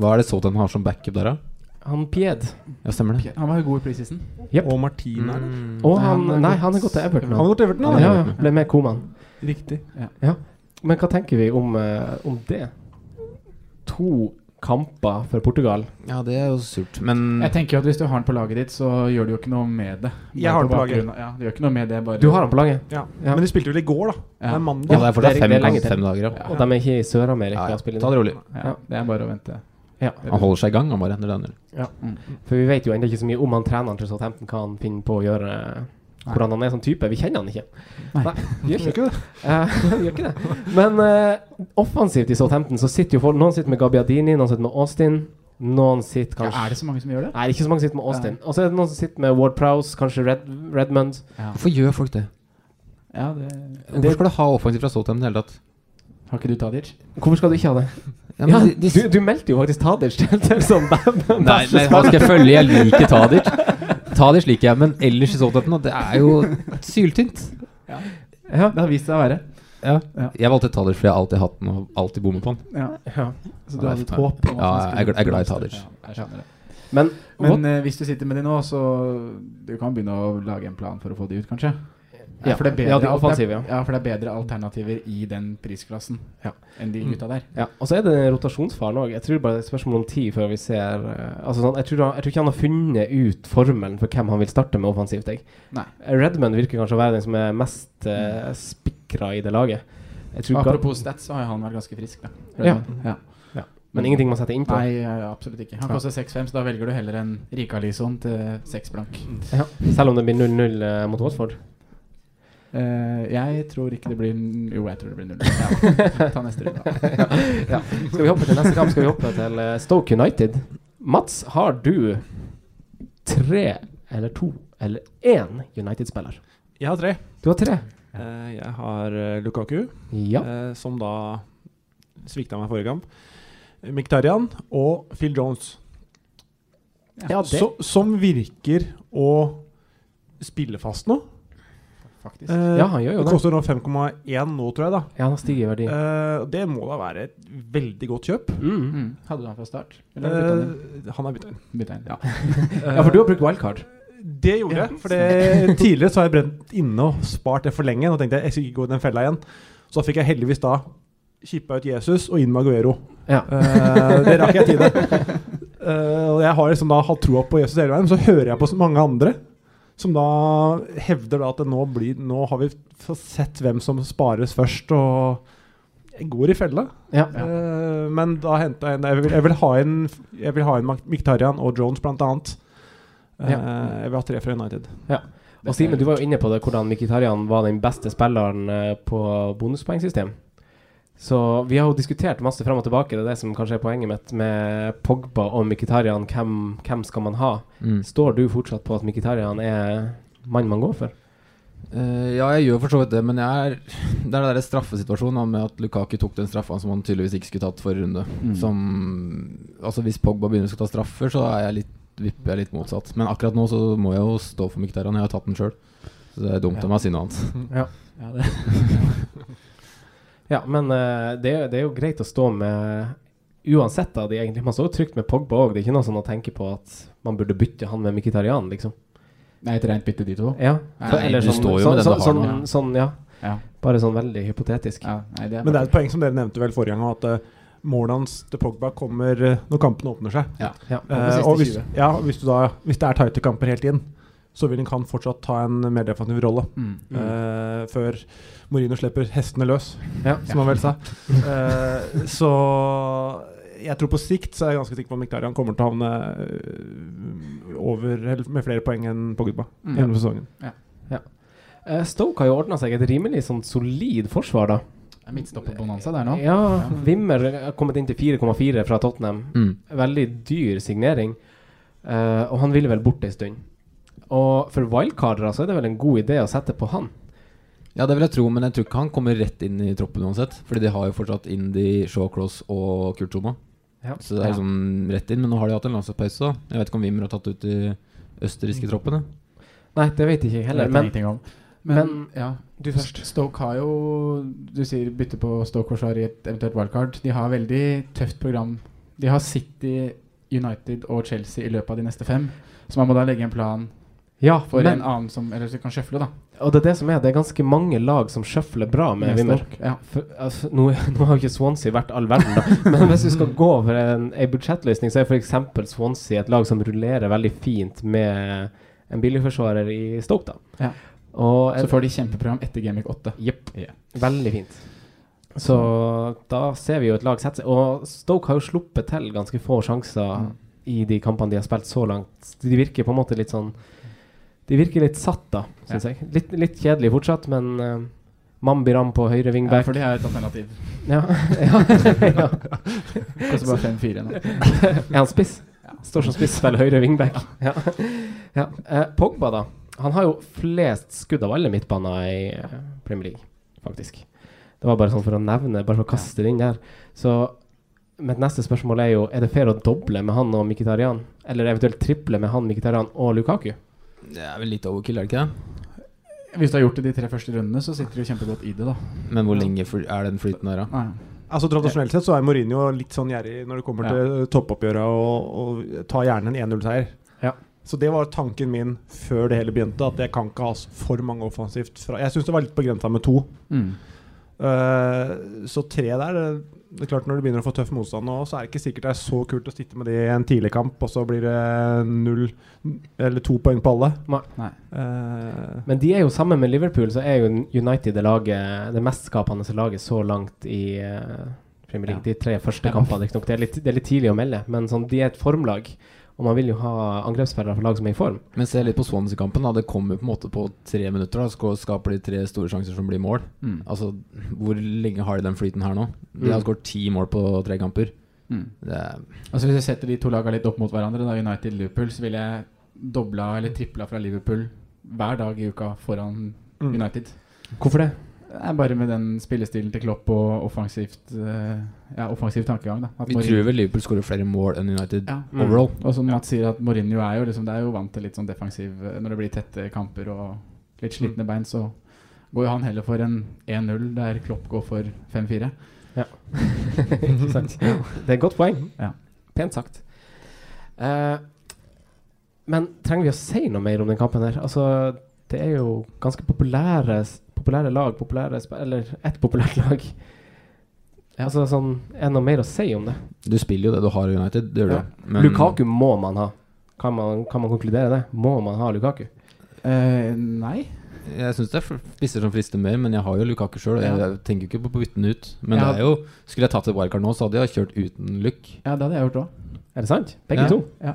F: Hva er det Southampton har som backup der, da?
C: Han Pied.
F: Ja, stemmer det.
D: Han var jo god i preseason.
C: Yep.
E: Og Martin er det.
C: Og han, Mm. nei, han er gått til Everton.
E: Han har gått til Everton,
C: ja.
E: ja.
C: ja, ja. Ble med Koman.
E: Riktig.
C: Ja. Men hva tenker vi om, eh, om det? To kamper for Portugal.
F: Ja, det er jo surt, men
D: Jeg tenker jo at hvis du har den på laget ditt, så gjør du jo ikke noe med det. Bare
E: Jeg har den på
D: bakgrunn
E: laget.
D: av- Ja, du gjør ikke noe med det, bare
C: Du har han på laget?
E: Ja. Men de spilte vel i går, da. Det er mandag.
C: Ja, det er fortsatt
F: fem
C: lenge
F: kamp-
C: til.
F: fem dager, ja.
C: Og de er ikke i Sør-Amerika.
F: Ja, ja.
C: og spiller
F: Ta det rolig.
D: Ja, det er bare å vente.
C: Ja.
F: Han holder seg i gang, han bare. Når det er
C: Ja. For vi vet jo ennå ikke så mye om han treneren til Southampton, hva han finner på å gjøre. Hvordan han er som type. Vi kjenner han ikke. Nei, vi gjør ikke det. vi gjør ikke det. Men eh, offensivt i Southampton så sitter jo folk Noen sitter med Gabbiadini, noen sitter med Austin. Noen sitter kanskje
D: Ja, er det så mange som gjør det?
C: Nei, det er ikke så mange som sitter med Austin. Og så er det noen som sitter med Ward Prowse, kanskje Red, Redmond.
D: Ja.
F: Hvorfor gjør folk det?
D: Ja, det
F: Hvorfor skal du ha offensiv fra Southampton i det hele tatt?
D: Har ikke du Tadic?
C: Hvorfor skal du ikke ha det?
F: Ja,
C: Ja,
F: men de,
C: du, du meldte jo faktisk Tadic til til som bæsjespiller.
F: Nei, nei, hva skal jeg følge? Jeg liker Tadic. Tadic liker jeg, men ellers i Southampton da, Det er jo syltynt.
D: Ja.
C: Det har vist seg å være.
F: Ja. Jeg valgte Tadic fordi jeg alltid har hatt den og alltid bommet på den.
D: Ja.
C: Ja.
D: Så du hadde et
F: Ja,
D: håp? om at
F: ja,
D: han skulle
F: jeg er gl- jeg er glad i
D: blomstre.
F: Tadic.
D: Ja, jeg skjønner det.
C: Men,
D: Men eh, hvis du sitter med de nå, så du kan begynne å lage en plan for å få de ut, kanskje?
C: Ja,
D: for det er bedre,
C: ja, de
D: alt- det er-
C: offensive, ja.
D: for det er bedre alternativer i den prisklassen enn de gutta der.
C: Ja, og så er det den rotasjonsfaren òg. Jeg tror bare det er et spørsmål om tid før vi ser eh, Altså sånn, jeg tror, da- jeg tror ikke han har funnet ut formelen for hvem han vil starte med offensivt. Jeg.
D: Nei.
C: Redmond Eh, virker kanskje å være den som er mest uh, spikra i det laget. Jeg tror ga-
D: Apropos stats, så har jo han vært ganske frisk, da.
C: Ja.
D: Redmond.
C: ja. Men ingenting man setter inn på.
D: Nei, ja, absolutt ikke. Han
C: Ja.
D: koster 6,5, så da velger du heller en Rikalison til 6 blank.
C: Ja. Selv om det blir 0-0 eh, mot Watford.
D: Eh, jeg tror ikke det blir Jo, jeg tror det blir null. Ja. Ta neste runde, da.
C: ja. Skal vi hoppe til neste kamp? Skal vi hoppe til eh, Stoke United? Mats, har du tre eller to eller én United-spiller?
E: Jeg har tre.
C: Du har tre.
E: Eh, jeg har eh, Lukaku,
C: Ja.
E: eh, som da svikta meg forrige kamp. Miktarian og Phil Jones.
C: Ja, det-
E: Så, som virker å spille fast nå.
D: Faktisk.
E: Eh,
C: Ja, han gjør jo det.
E: det koster nå 5,1 nå, tror jeg. da
C: Ja, han har stiget i verdi.
E: Eh, og Det må da være et veldig godt kjøp.
C: Mm.
D: Mm. Hadde du han fra start? Eller har du byttet han inn?
E: Eh, han er bytta inn.
D: Byttet inn, ja.
C: Ja, for du har brukt wildcard.
E: Det gjorde jeg. For det, tidligere så har jeg brent inne og spart det for lenge. Nå tenkte jeg jeg skal ikke gå i den fella igjen. Så da fikk jeg heldigvis da kippa ut Jesus og inn med Aguero.
C: Ja.
E: Eh, det rakk jeg i tide. Eh, og jeg har liksom da hatt troa på Jesus hele veien, men så hører jeg på så mange andre som da hevder da at det nå, blir, nå har vi f- sett hvem som spares først, og jeg går i fella.
C: Ja.
E: Eh, men da henta jeg en jeg vil, jeg vil ha inn, jeg vil ha inn Mik- Mkhitaryan og Jones, blant annet. Eh, Jeg vil ha tre fra United.
C: ja. Og Simen, du var jo inne på det hvordan Mkhitaryan var den beste spilleren eh, på bonuspoengsystem. Så vi har jo diskutert masse fram og tilbake. Det er det som kanskje er poenget mitt med Pogba og Mkhitaryan. Hvem, hvem skal man ha?
F: Mm.
C: Står du fortsatt på at Mkhitaryan er mannen man går for?
F: Eh, ja, jeg gjør for så vidt det, men jeg er, det er den der straffesituasjonen da, med at Lukaku tok den straffa som han tydeligvis ikke skulle tatt forrige runde.
D: Mm.
F: Som, altså Hvis Pogba begynner å skal ta straffer, så er jeg litt, vipper jeg litt motsatt. Men akkurat nå så må jeg jo stå for Mkhitaryan. Jeg har tatt den sjøl, så det er dumt av meg å si noe annet.
C: Ja, ja men eh, det, er- det er jo greit å stå med Uansett da, de egentlig, man står jo trygt med Pogba òg. Det er ikke noe sånn å tenke på at man burde bytte han med Mkhitaryan, liksom.
D: Nei, et rent bytte de to?
C: Ja.
D: Nei,
C: For-
D: du står jo
C: sånn,
D: med
C: sånn,
D: den du har
C: sånn,
D: nå.
C: sånn, ja.
D: Ja.
C: Bare sånn veldig hypotetisk.
E: Men det er et poeng som dere nevnte vel forrige gang, at eh, målet hans til Pogba kommer eh, når kampene åpner seg.
F: Ja.
C: Ja,
E: Eh,
C: på siste
E: og hvis,
C: 20.
E: ja, og hvis, du da, hvis det er tighte kamper helt inn, så vil han fortsatt ta en mer defensiv rolle.
D: Mm.
E: eh, før Morino slipper hestene løs,
C: Ja.
E: som han vel sa. Eh, så jeg tror på sikt så er jeg ganske sikker på at Miktarian kommer til å havne eh, over, eller med flere poeng enn Pogba
C: Mm.
E: gjennom sesongen.
D: Ja.
C: Ja. Eh, Stoke har jo ordna seg et rimelig sånn solid forsvar, da.
D: Midtstopperbonanza der nå.
C: Ja, Wimmer har kommet inn til 4,4 fra Tottenham.
F: Mm.
C: Veldig dyr signering. Eh, og han ville vel bort en stund. Og for wildcardere så er det vel en god idé å sette på han.
F: Ja, det vil jeg tro, men jeg tror ikke han kommer rett inn i troppen uansett. Fordi de har jo fortsatt Indy, Shawcross og Kurt Zuma.
C: Ja.
F: Så det er liksom rett inn. Men nå har de hatt en landslagspause. da. Jeg vet ikke om Wimmer har tatt ut de østerrikske troppene.
C: Nei, det vet jeg ikke heller.
D: Det vet jeg
C: men-
D: ingenting om. Men,
C: men-
D: ja,
C: du først.
D: Stoke har jo Du sier bytte på Stoke Forsvar i et eventuelt wildcard. De har veldig tøft program. De har City, United og Chelsea i løpet av de neste fem. Så man må da legge en plan
C: Ja,
D: for
C: men-
D: en annen som Eller som kan sjøfle, da.
C: Og det er det som er, det er ganske mange lag som sjøfler bra med
D: Med
C: Wimmer.
D: Stoke, ja.
C: For, altså, nå, nå har jo ikke Swansea vært all verden, da. men hvis du skal gå over en, en budsjettløsning, så er f.eks. Swansea et lag som rullerer veldig fint med en billigforsvarer i Stoke, da.
D: Ja.
C: Og en-
D: Så får de kjempeprogram etter Gamic 8.
C: Jepp. Veldig fint. Så da ser vi jo et lag sette seg. Og Stoke har jo sluppet til ganske få sjanser i de kampene de har spilt så langt. De virker på en måte litt sånn De virker litt satt, da, syns jeg. Litt, litt kjedelig fortsatt, men uh, Mambi Ram på høyre
D: Ja,
C: wingback
D: for det er et alternativ.
C: Ja. ja. ja.
D: Koster bare 5-4 nå.
C: er han spiss? Står som spiss, vel høyre wingback. Ja. Ja. Eh, Pogba, da. Han har jo flest skudd av alle midtbaner i eh, Premier League, faktisk. Det var bare sånn for å nevne, bare for å kaste det inn der. Så mitt neste spørsmål er jo Er det fair å doble med han og Mkhitaryan? Eller eventuelt triple med han, Mkhitaryan og Lukaku?
F: Det er vel litt overkill, er det ikke det?
D: Hvis du har gjort det de tre første rundene, så sitter du kjempegodt i det, da.
F: Men hvor lenge fly- er den flyten der, da?
D: Nei.
E: Altså Tradisjonelt sett så er Mourinho litt sånn gjerrig når det kommer
F: Ja.
E: til eh, toppoppgjøret, og, og tar gjerne en 1-0-seier.
C: Ja.
E: Så det var tanken min før det hele begynte, at jeg kan ikke ha s- for mange offensivt fra Jeg syns det var litt på grensa med to.
D: Mm.
E: Eh, så tre der eh, Det er klart Når du begynner å få tøff motstand nå, så er det ikke sikkert det er så kult å sitte med det i en tidlig kamp, og så blir det null eller to poeng på alle.
C: Nei.
D: Nei.
E: Eh,
C: Men de er jo sammen med Liverpool, så er jo United det laget Det mest skapende laget så langt i eh, Premier League. De tre første kampene, riktignok. Det, er litt- det er litt tidlig å melde, men sånn, de er et formlag. Og man vil jo ha angrepsspillere fra lag som er i form.
F: Men se litt på Swansea-kampen. da Det kommer på en måte på tre minutter. da Så Skaper de tre store sjanser som blir mål.
D: Mm.
F: Altså, Hvor lenge har de den flyten her nå? De
C: Mm.
F: har skåret ti mål på tre kamper.
D: Mm.
F: Det er
D: Altså Hvis vi setter de to lagene litt opp mot hverandre, da United Liverpool, så ville jeg dobla eller tripla fra Liverpool hver dag i uka foran
E: Mm.
D: United.
C: Hvorfor det?
D: Det er bare med den spillestilen til Klopp og offensivt eh, Ja, offensiv tankegang. da At
F: Vi
D: Mourinho-
F: tror vel Liverpool skårer flere mål enn United
D: Ja. Mm.
F: overall.
D: Og som Mats sier, at Mourinho er jo liksom Det er jo vant til litt sånn defensiv eh, Når det blir tette kamper og litt slitne bein, så går jo han heller for en 1-0 der Klopp går for 5-4.
C: Ikke sant? Det er et godt poeng.
D: Ja.
C: Pent sagt. Eh, men trenger vi å si noe mer om den kampen her? Altså, det er jo ganske populære, populære lag, populære sp- Eller ett populært lag. Altså, sånn, er det noe mer å si om det?
F: Du spiller jo det du har i United. Det gjør
C: Ja.
F: du. Men
C: Lukaku må man ha. Kan man, kan man konkludere det? Må man ha Lukaku?
D: Eh, nei.
F: Jeg syns det er f- spisser som frister mer, men jeg har jo Lukaku sjøl. Jeg
D: Ja.
F: tenker jo ikke på å bytte den ut. Men
D: Ja.
F: det er jo Skulle jeg tatt et wildcard nå, så hadde jeg kjørt uten Luke.
D: Ja, det hadde jeg gjort òg.
C: Er det sant? Begge
F: Ja.
C: to?
D: Ja.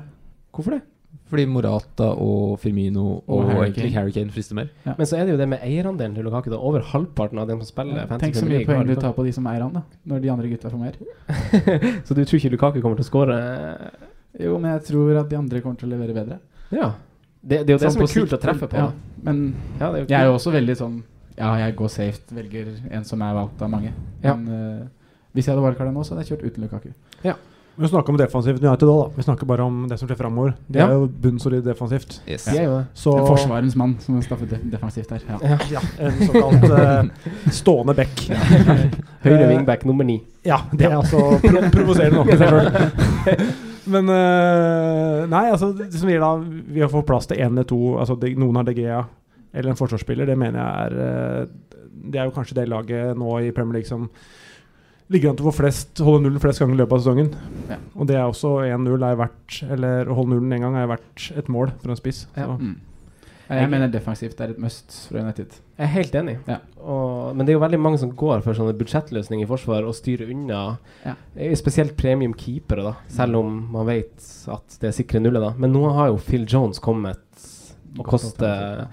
C: Hvorfor det?
F: fordi Morata og Firmino og,
C: Og Harry
F: egentlig
C: Kane.
F: Harry Kane frister mer.
C: Men så er det jo det med eierandelen til Lukaku. Det er over halvparten av dem som spiller.
D: Ja,
C: Fantasy
D: Tenk så
C: Premier League
D: mye
C: har
D: poeng du
C: Lukaku.
D: tar på de som eier han, da. Når de andre gutta får mer.
C: Så du tror ikke Lukaku kommer til å skåre?
D: Jo, men jeg tror at de andre kommer til å levere bedre.
C: Ja. Det, det er jo det
D: Sånn
C: som
D: på
C: er kult å
D: sikt,
C: treffe på.
D: ja.
C: da.
D: Men
C: Ja, det er jo
D: jeg er jo
C: kult.
D: også veldig sånn Ja, jeg går safe, velger en som er valgt av mange.
C: Ja.
D: Men eh, hvis jeg hadde wildcarda nå, så hadde jeg kjørt uten Lukaku.
E: Vi snakker om defensivt United òg, da. Vi snakker bare om det som skjer framover. Det
D: Ja.
E: er jo bunnsolid defensivt.
D: Ja.
E: Så
D: En forsvarens mann som staffet def- defensivt der. Ja.
E: ja. en såkalt eh, stående back.
C: Høyre
E: Eh,
C: wingback nummer ni.
E: Ja, det er
C: Ja.
E: altså pro provoserende nok i seg sjøl. Men eh, Nei, altså, det som gir da Vi har fått plass til én eller to. Altså, de, noen har DGA eller en forsvarsspiller. Det mener jeg er eh, Det er jo kanskje det laget nå i Premier League som ligger an til å få flest, holde nullen flest ganger i løpet av sesongen.
D: Ja.
E: Og det er også 1-0 er verdt Eller å holde nullen én gang er verdt et mål for en spiss. Så.
D: Mm. Ja, Jeg mener defensivt er et must fra United.
C: Jeg er helt enig. Og, men det er jo veldig mange som går for sånne budsjettløsninger i forsvar og styrer unna.
D: Ja.
C: Eh, Spesielt premium keepere, da. Selv om man vet at det er sikre nullet, da. Men nå har jo Phil Jones kommet og
D: Godt
C: koster,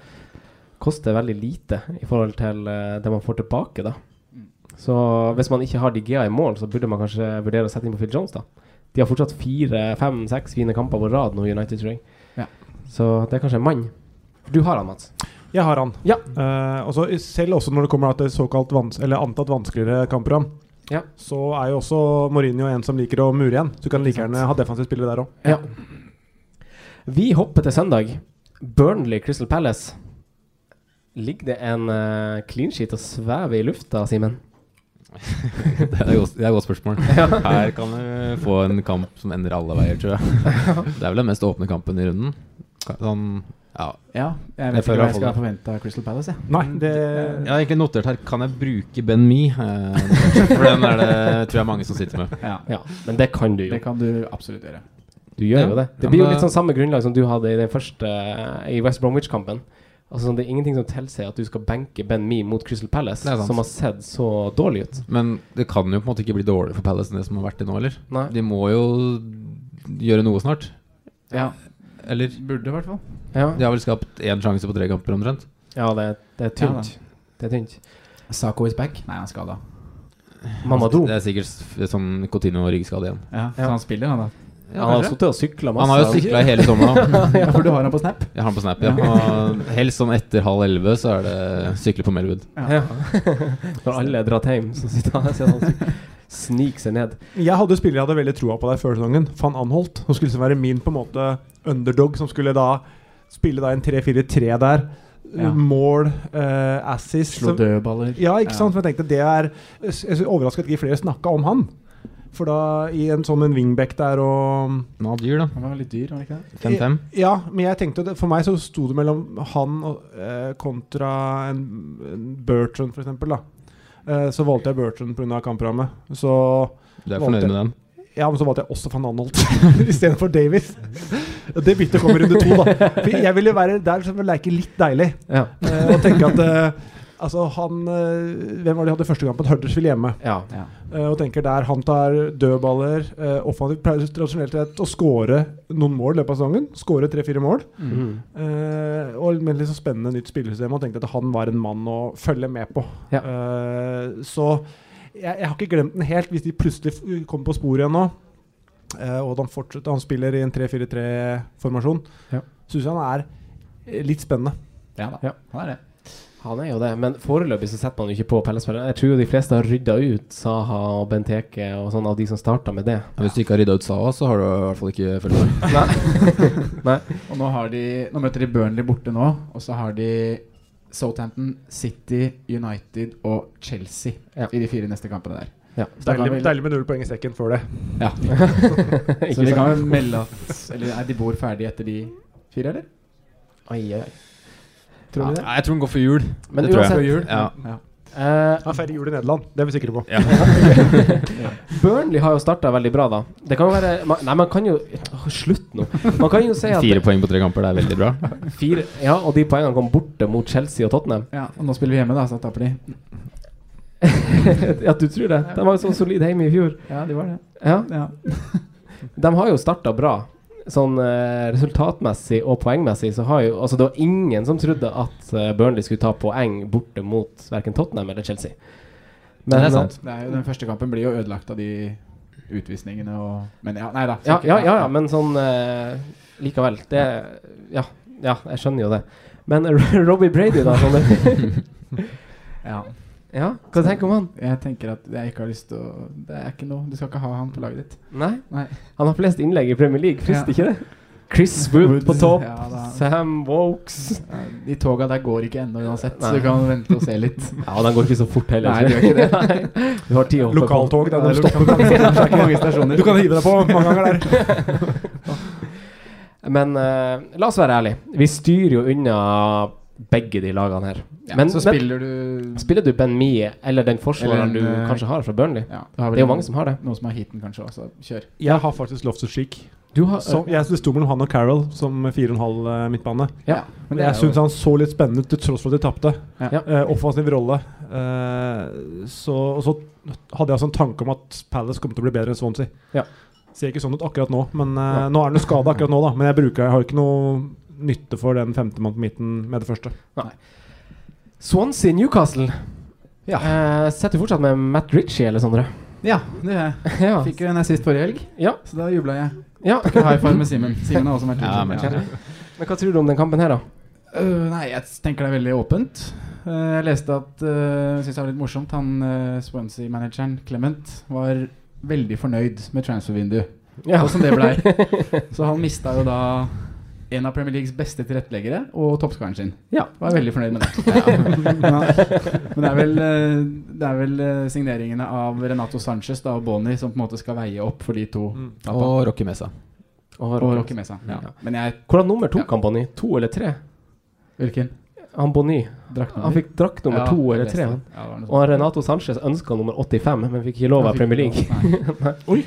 C: koster veldig lite i forhold til eh, det man får tilbake, da.
D: Mm.
C: Så hvis man ikke har Digea i mål, så burde man kanskje vurdere å sette inn på Phil Jones, da. De har fortsatt fire, fem, seks fine kamper på rad nå, United, tror jeg.
D: Ja.
C: Så det er kanskje en mann. Du har han, Mats.
E: Jeg har han. Eh, og så selv også når det kommer da til såkalt vans eller antatt vanskeligere kampprogram, så er jo også Mourinho en som liker å mure igjen. Så du kan like gjerne ha defensive spillere der òg.
C: Ja. Vi hopper til søndag. Burnley Crystal Palace. Ligger det en eh, clean sheet og svever i lufta, Simen?
F: Det er et godt, det er et godt spørsmål.
C: Ja.
F: Her kan du få en kamp som ender alle veier, tror jeg. Det er vel den mest åpne kampen i runden. Ka- Sånn, ja.
D: Ja, jeg vet ikke hva jeg skal forvente av Crystal Palace, jeg.
E: Nei, det
F: Jeg har egentlig notert her Kan jeg bruke Ben Me? Eh, For den er det tror jeg mange som sitter med.
D: Ja.
C: Ja, men det kan du jo.
D: Det kan du absolutt gjøre.
C: Du gjør
F: Ja.
C: jo det.
F: Ja,
C: Det blir jo
F: men-
C: litt sånn samme grunnlag som du hadde i den første eh, i West Bromwich-kampen. Altså sånn, Det er ingenting som tilsier at du skal benke Ben Mee mot Crystal Palace,
F: Det er sant.
C: som har sett så dårlig ut.
F: Men det kan jo på en måte ikke bli dårligere for Palace enn det som har vært det nå, eller?
C: Nei.
F: De må jo gjøre noe snart.
D: Ja.
F: Eller?
D: Burde i hvert fall.
C: Ja,
F: De har vel skapt én sjanse på tre kamper, omtrent.
C: ja det, det er tynt.
D: Ja,
C: det er tynt.
D: Sako is back. Nei, han skal da.
C: Mamadou.
F: Det er sikkert s- sånn Coutinho og ryggskade igjen.
D: Ja, så han spiller, han da.
F: Ja,
C: han har
F: kanskje.
C: sittet og sykla masse.
F: Han har jo
C: ikke?
F: sykla hele sommeren. da.
D: Ja, for du har han på Snap?
F: Jeg har han på Snap, ja. Og helst sånn etter halv elleve så er det sykle på Melwood.
C: Ja. Når alle er dratt hjem, så sitter han sitter han og syk- sniker seg ned.
E: Jeg hadde spillere jeg hadde veldig troa på der før sesongen. Van Anholt. Som skulle liksom være min på en måte underdog, som skulle da spille da en 3-4-3 der.
D: Ja.
E: Mål, eh, assist
D: Slå
E: som-
D: dødballer.
E: Ja, ikke sant? Men jeg tenkte det er Jeg er overraska at ikke flere snakka om han. For da, i en sånn en wingback der og
F: Han hadde dyr, da.
D: Han var litt dyr, var han ikke det?
F: 5-5.
E: Ja, men jeg tenkte det, For meg så sto det mellom han og, eh, kontra en, en Bertrand, for eksempel, da. Eh, så valgte jeg Bertrand pga. kamprammet. Så
F: Du er
E: valgte
F: fornøyd
E: jeg-
F: med den?
E: Ja, men så valgte jeg også van Anholt istedenfor Davis. Det byttet kommer under to, da. For jeg ville være der som å leke litt deilig.
C: Ja.
E: Eh, og tenke at eh, Altså, han eh, Hvem var det de hadde første kampen? Huddersfield hjemme.
C: ja.
D: Ja.
E: Eh, og tenker der han tar dødballer eh, offensivt. Pleier tradisjonelt sett å skåre noen mål i løpet av sesongen. Skåre tre-fire mål.
C: Mhm.
E: Eh, og med litt så spennende nytt spillesystem. Og tenkte at han var en mann å følge med på.
C: Ja.
E: Eh, så jeg, jeg har ikke glemt den helt, hvis de plutselig f- kommer på sporet igjen nå. eh, og at han fortsetter Han spiller i en 3-4-3-formasjon.
C: Ja.
E: Syns jeg han er eh, litt spennende.
D: Ja da.
C: Ja.
D: Han er det.
C: Han er jo det, men foreløpig så setter man jo ikke på pellespillere. Jeg tror jo de fleste har rydda ut Saha og Benteke og sånn av de som starta med det.
F: Ja, Hvis du ikke har rydda ut Saha, så har du i hvert fall ikke fulgt med.
D: Og nå, har de, nå møter de Burnley borte nå, og så har de Southampton, City, United og Chelsea
C: Ja.
D: i de fire neste kampene der.
C: Ja.
D: Så da kan
E: Deilig,
D: vi-
E: deilig med null poeng i sekken før det.
D: Ja. så
C: Ikke
D: vi kan
C: sant?
D: vel melde at Eller er de bor ferdig etter de fire, eller?
C: Oi, oi, oi.
D: Tror du det?
F: Nei, jeg tror den går for jul.
C: Men
F: det tror jeg.
C: uansett-
F: Ja.
D: Ja.
C: Eh,
E: Han feirer jul i Nederland, det er vi sikre på.
C: Burnley har jo starta veldig bra, da. Det kan jo være man, Nei, man kan jo Åh, Slutt nå. Man kan jo si at
F: Fire poeng på tre kamper, det er veldig bra.
C: Fire- Ja, og de poengene kom borte mot Chelsea og Tottenham.
D: Ja, og nå spiller vi hjemme, da, så da taper de.
C: At du tror det? De var jo så solide hjemme i fjor.
D: Ja, de var det.
C: Ja,
D: Ja.
C: De har jo starta bra. sånn eh, resultatmessig og poengmessig så har jo Altså, det var ingen som trodde at eh, Burnley skulle ta poeng borte mot verken Tottenham eller Chelsea.
D: Men, det er
C: eh,
D: sant. Det er jo, den første kampen blir jo ødelagt av de utvisningene og Men ja, nei da.
C: eh, Ja, ja, ja, ja, men sånn eh, likevel. Det ja, ja, jeg skjønner jo det. Men Robbie Brady, da? Sånn,
D: Ja.
C: Ja, hva tenker du om han?
D: Jeg tenker at jeg ikke har lyst til å Det er ikke noe Du skal ikke ha han på laget ditt.
C: nei? Han har flest innlegg i Premier League, frister ikke det? Chris Wood på topp.
D: Ja, da.
C: Sam Wokes.
D: De toga der går ikke ennå uansett, så
C: Nei.
D: du kan vente og se litt.
C: Ja, og den går ikke så fort heller.
D: Nei, det gjør ikke det.
C: Nei. Du har tid å hoppe på.
E: Lokaltog, det er når du
C: Ja,
E: stopper
C: lokaltog.
E: på mange- det er ikke mange stasjoner. Du kan hive deg på mange ganger der.
C: Men eh, la oss være ærlig Vi styrer jo unna begge de lagene her.
D: Ja, så spiller du-
C: Spiller du Ben Mee eller den
D: Eller
C: forsvareren
D: en,
C: du
D: eh,
C: kanskje har fra Burnley?
D: Ja, du har vel
C: det er jo
D: en-
C: mange som har det.
D: Noen som har heaten kanskje også. Kjør.
E: Jeg har faktisk lovt et slik.
C: Du har-
E: som,
D: eh,
E: jeg, det sto mellom han og Carroll som 4,5 eh, midtbane.
C: Ja, men
E: Men
C: det er
E: jeg
C: jo-
E: syns han så litt spennende ut til tross for at de tapte.
C: Ja.
E: Eh, offensiv rolle. Eh, så, og så hadde jeg altså en tanke om at Palace kom til å bli bedre enn Swansea. Ser ikke sånn ut akkurat nå, men eh, nå er han jo skada akkurat nå, da. Men jeg, bruker, jeg har ikke noe nytte for den femtemann på midten med det første.
C: Swansea Newcastle. Ja. setter du fortsatt med Matt Ritchie eller Sondre?
D: Ja, det gjør jeg. Fikk jo en assist forrige helg, så da jubla jeg.
C: Ja.
D: Takk for high five med Simen. Simen har også vært
C: Ja, men-
D: litt sånn,
C: Men hva tror du om den kampen her, da?
D: Øh, nei, jeg tenker det er veldig åpent. Eh, jeg leste at uh, synes det var litt morsomt. Han eh, Swansea-manageren Clement var veldig fornøyd med transfervinduet.
C: Ja.
D: Og Sånn som det blei. Så han mista jo da en av Premier Leagues beste tilretteleggere og toppskåreren sin.
C: Ja.
D: Var veldig fornøyd med det. Men han- Men det er vel, eh, det er vel eh, signeringene av Renato Sanchez da, og Boni som på en måte skal veie opp for de to.
F: Mm.
D: tappa.
G: Og Rocky Mesa.
C: Og
D: Og Rocky Mesa. Ja. Men jeg
C: Hvordan nummer tok han Bonny? To eller tre?
D: Hvilken?
C: Han Bonny.
D: Draktnummer.
C: Han fikk drakt nummer
D: Ja,
C: to eller
D: jeg leste
C: tre.
D: det.
C: Han.
D: Ja, det var noe sånt.
C: og Renato Sanchez ønska nummer 85, men fikk ikke lov
D: Han
C: av
D: fikk
C: Premier
D: ikke
C: League. Nei.
E: Oi!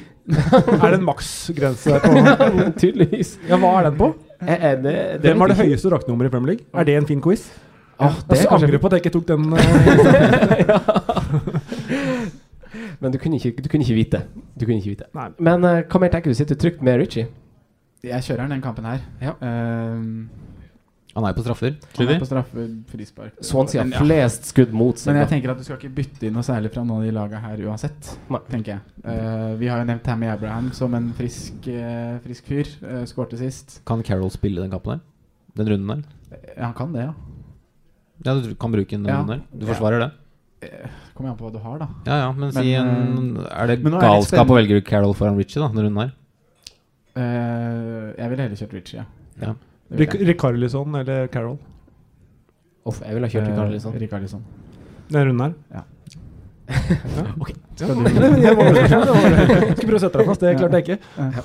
E: Er det en maksgrense på
C: Tydeligvis. Eh,
E: Ja, hva er den på?
C: det
E: Hvem har det
C: vet jeg ikke.
E: høyeste draktnummeret i Premier League? Er det en fin quiz?
C: Ah, det er
E: jeg
C: kanskje-
E: angrer på at jeg ikke tok den. eh,
C: Men du kunne ikke, du kunne ikke vite. Du kunne ikke vite.
E: Nei.
C: Men eh, hva mer tenker du? Sitter du trygt med Ritchie?
D: Jeg kjører den kampen her. Ehm,
G: Han er jo på straffer.
D: han
G: Trudy.
D: er på straffe, frispark
C: Swansea har
D: Men ja.
C: flest skudd mot seg.
D: Men jeg
C: da.
D: tenker at du skal ikke bytte inn noe særlig fra noen av de laga her uansett. Tenker jeg Eh, Vi har jo nevnt Tammy Abraham som en frisk, eh, frisk fyr. Uh, Skårte sist.
G: Kan Carroll spille den kampen der? Den runden der?
D: Eh, han kan det, ja.
G: Ja, du kan bruke den
D: Ja.
G: runden der. Du forsvarer det?
D: Eh, Kommer an på hva du har, da.
G: Ja ja, men, si en
D: eh,
G: Er det
D: men nå er litt
G: galskap å
D: spennende.
G: velge Carroll foran Ritchie, da, den runden der?
D: Eh, jeg ville heller kjørt Ritchie, ja.
G: Ja.
D: Det vil
E: Ric-
D: jeg.
E: Rikarlison eller Carroll?
C: Uff, jeg ville ha kjørt
D: Eh,
C: Rikarlison.
D: Rikarlison.
E: Den runden her?
D: Ja.
C: Ok.
E: Skal du- Jeg var overrasket, jeg var overrasket. Skulle prøve å sette deg fast, det klarte jeg ikke.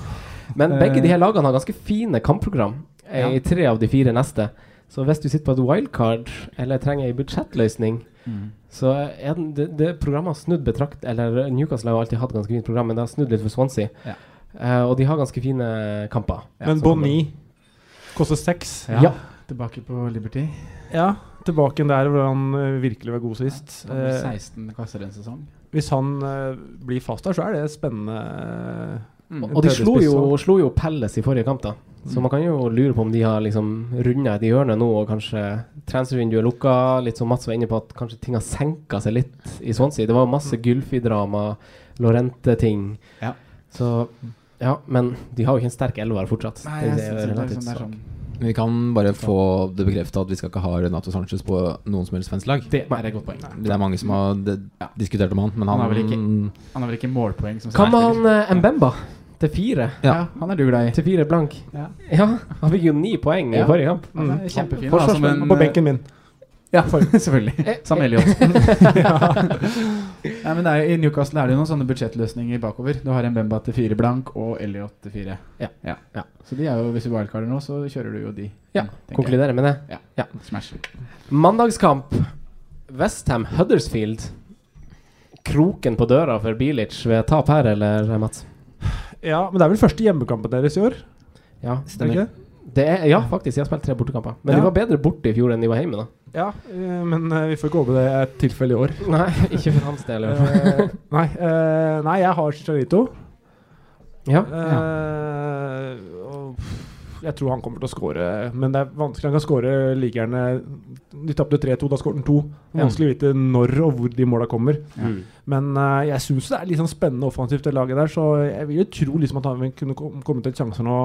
C: Men
E: Eh.
C: begge de her lagene har ganske fine kampprogram eh, i tre av de fire neste. Så hvis du sitter på et wildcard eller trenger ei budsjettløsning,
D: Mm.
C: så er den, det, det programmet har snudd betrakt Eller eh, Newcastle har jo alltid hatt ganske fint program, men det har snudd litt for Swansea.
D: Ja.
C: Eh, og de har ganske fine kamper.
E: Men Bonny koster seks.
C: Ja. Ja.
D: Tilbake på Liberty.
E: Ja, tilbake der hvor han eh, virkelig var god sist.
D: Han hadde
E: Eh,
D: 16 kasser en sesong.
E: Hvis han eh, blir fast der, så er det spennende. eh,
C: Og- Og de slo jo, slo jo Pelles i forrige kamp, da. Så
E: Mm.
C: man kan jo lure på om de har liksom runda et hjørne nå, og kanskje transfervinduet er lukka. Litt som Mats var inne på, at kanskje ting har senka seg litt i Swansea. Det var masse Gylfi-drama, Lorente-ting.
D: Mm. Ja.
C: Så ja, men de har jo ikke en sterk elver fortsatt.
D: Nei, jeg
C: Det er
D: synes det er
C: relativt
D: sånn- det er
C: svak.
D: sånn-
G: Men vi kan bare få det bekrefta at vi skal ikke ha Renato Sanchez på noen som helst svensk lag.
D: Det er et godt poeng.
G: Det er mange som har de- diskutert om han, men han,
D: Han har vel ikke, han har vel ikke målpoeng som
C: Hva med
D: særspiller.
C: han eh, Mbemba? Til fire.
G: Ja.
D: han er du glad i.
C: Til fire blank.
D: Ja.
C: han fikk jo ni poeng i
D: Ja.
C: forrige kamp.
D: Han er kjempefin, da,
C: altså,
D: som en-
E: Forsvarsspiller Mm. på benken min.
D: Ja, selvfølgelig. Sam Elliot. Eh, Nei, men det er, jo- I Newcastle er det jo noen sånne budsjettløsninger bakover. Du har en Bemba til fire blank og Elliot til fire.
C: Ja.
D: Så de er jo, hvis du wildcarder nå, så kjører du jo de.
C: Ja,
D: tenker
C: konkluderer med det.
D: Ja.
C: Ja.
D: Smash.
C: Mandagskamp. Westham Huddersfield. Kroken på døra for Bilic ved tap her, eller eh, Mats?
E: Ja, men det er vel første hjemmekampen deres i år?
C: Ja,
E: Stemmer ikke det?
C: Det er, ja, faktisk. De har spilt tre bortekamper. Men
E: Ja.
C: de var bedre borte i fjor enn de var hjemme, da.
E: Ja, eh, men eh, vi får ikke håpe det er et tilfelle i år.
C: Nei, ikke for hans del. i hvert fall.
E: Eh, nei, eh, nei, jeg har Charito.
C: Ja.
E: Eh, og Jeg tror han kommer til å score, men det er vanskelig. Han kan score like gjerne De tapte 3-2, da skåret han 2. Vanskelig å vite når og hvor de måla kommer.
H: Mm.
E: Men eh, jeg syns det er litt sånn spennende offensivt, det laget der, så jeg vil jo tro liksom at han vil kunne kom- komme til sjanser nå.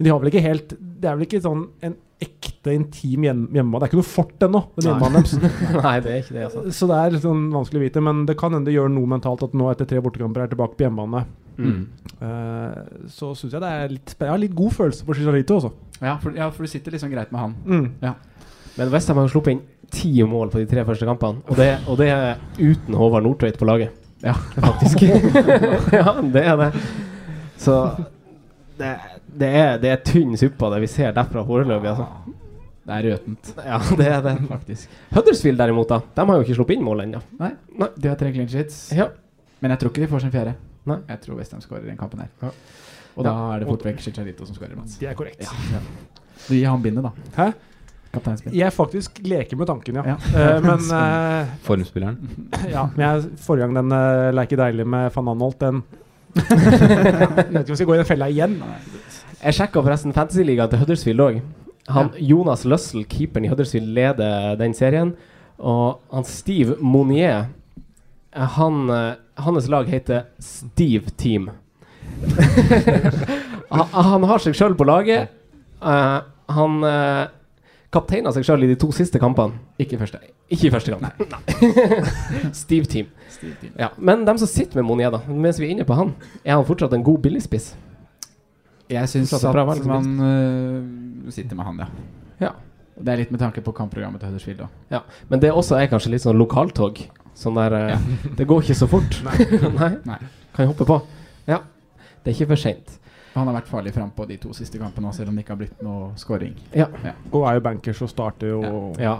E: Men de har vel ikke helt Det er vel ikke sånn en ekte intim hjem- hjemmebane. Det er ikke noe fort ennå, den
C: Nei.
E: hjemmebanen deres.
C: Nei, det er ikke det, altså.
E: Så det er litt sånn vanskelig å vite, men det kan hende det gjør noe mentalt at nå etter tre bortekamper er tilbake på hjemmebane.
D: Mm.
E: Eh, så syns jeg det er litt spen- Jeg har litt god følelse på Chicharito også.
D: Ja, for, ja, for du sitter liksom greit med han.
E: Mm.
D: Ja.
C: Men Westham har jo sluppet inn ti mål på de tre første kampene, og det, og det er uten Håvard Nordtveit på laget.
D: Ja,
C: faktisk. ja, det er det. Så det, det, er, det er tynn suppe, det vi ser derfra foreløpig, altså.
D: Det er røtent.
C: Ja, det er det.
D: Faktisk.
C: Huddersfield derimot, da. De har jo ikke sluppet inn mål ennå.
D: Nei. De har tre clean sheets. Men jeg tror ikke de får sin fjerde. Jeg tror Westham skårer den kampen her. Og da er det fort vekk Chicharito som skårer, Mats.
E: Det er korrekt.
D: Ja. Du gir han bindet, da.
E: Hæ?
D: Kapteinsbindet.
E: Jeg faktisk leker med tanken,
D: Ja.
E: ja. Eh, men
D: Spennende.
E: eh,
F: Formspilleren.
E: Ja, men jeg, forrige gang den uh, leker deilig med van Anholt, den Jeg vet ikke om jeg skal gå i den fella igjen.
C: Jeg sjekka forresten Fantasyligaen til Huddersfield òg. Han, Jonas Lussell, keeperen i Huddersfield, leder eh, den serien. Og han Steve Monier eh, han, eh, Hans lag heter Steve Team. han, han har seg sjøl på laget. Eh, han uh, kapteina seg sjøl i de to siste kampene.
D: Ikke i første.
C: Ikke i første kamp. Nei. Steve Team. Ja. Men dem som sitter med Monier, da, mens vi er inne på han, er han fortsatt en god billigspiss?
D: Jeg syns
C: Satser
D: at
C: på Ravel,
D: man øh, sitter med han, ja. Det er litt med tanke på kampprogrammet til Huddersfield òg.
C: Ja, Men det også er kanskje litt sånn lokaltog. Sånn der eh, Det går ikke så fort. Nei. Kan jeg hoppe på? Ja. Det er ikke for seint.
D: Han har vært farlig frampå de to siste kampene, også, selv om det ikke har blitt noe scoring.
C: Ja.
E: Og er jo bankers og starter jo
C: Ja.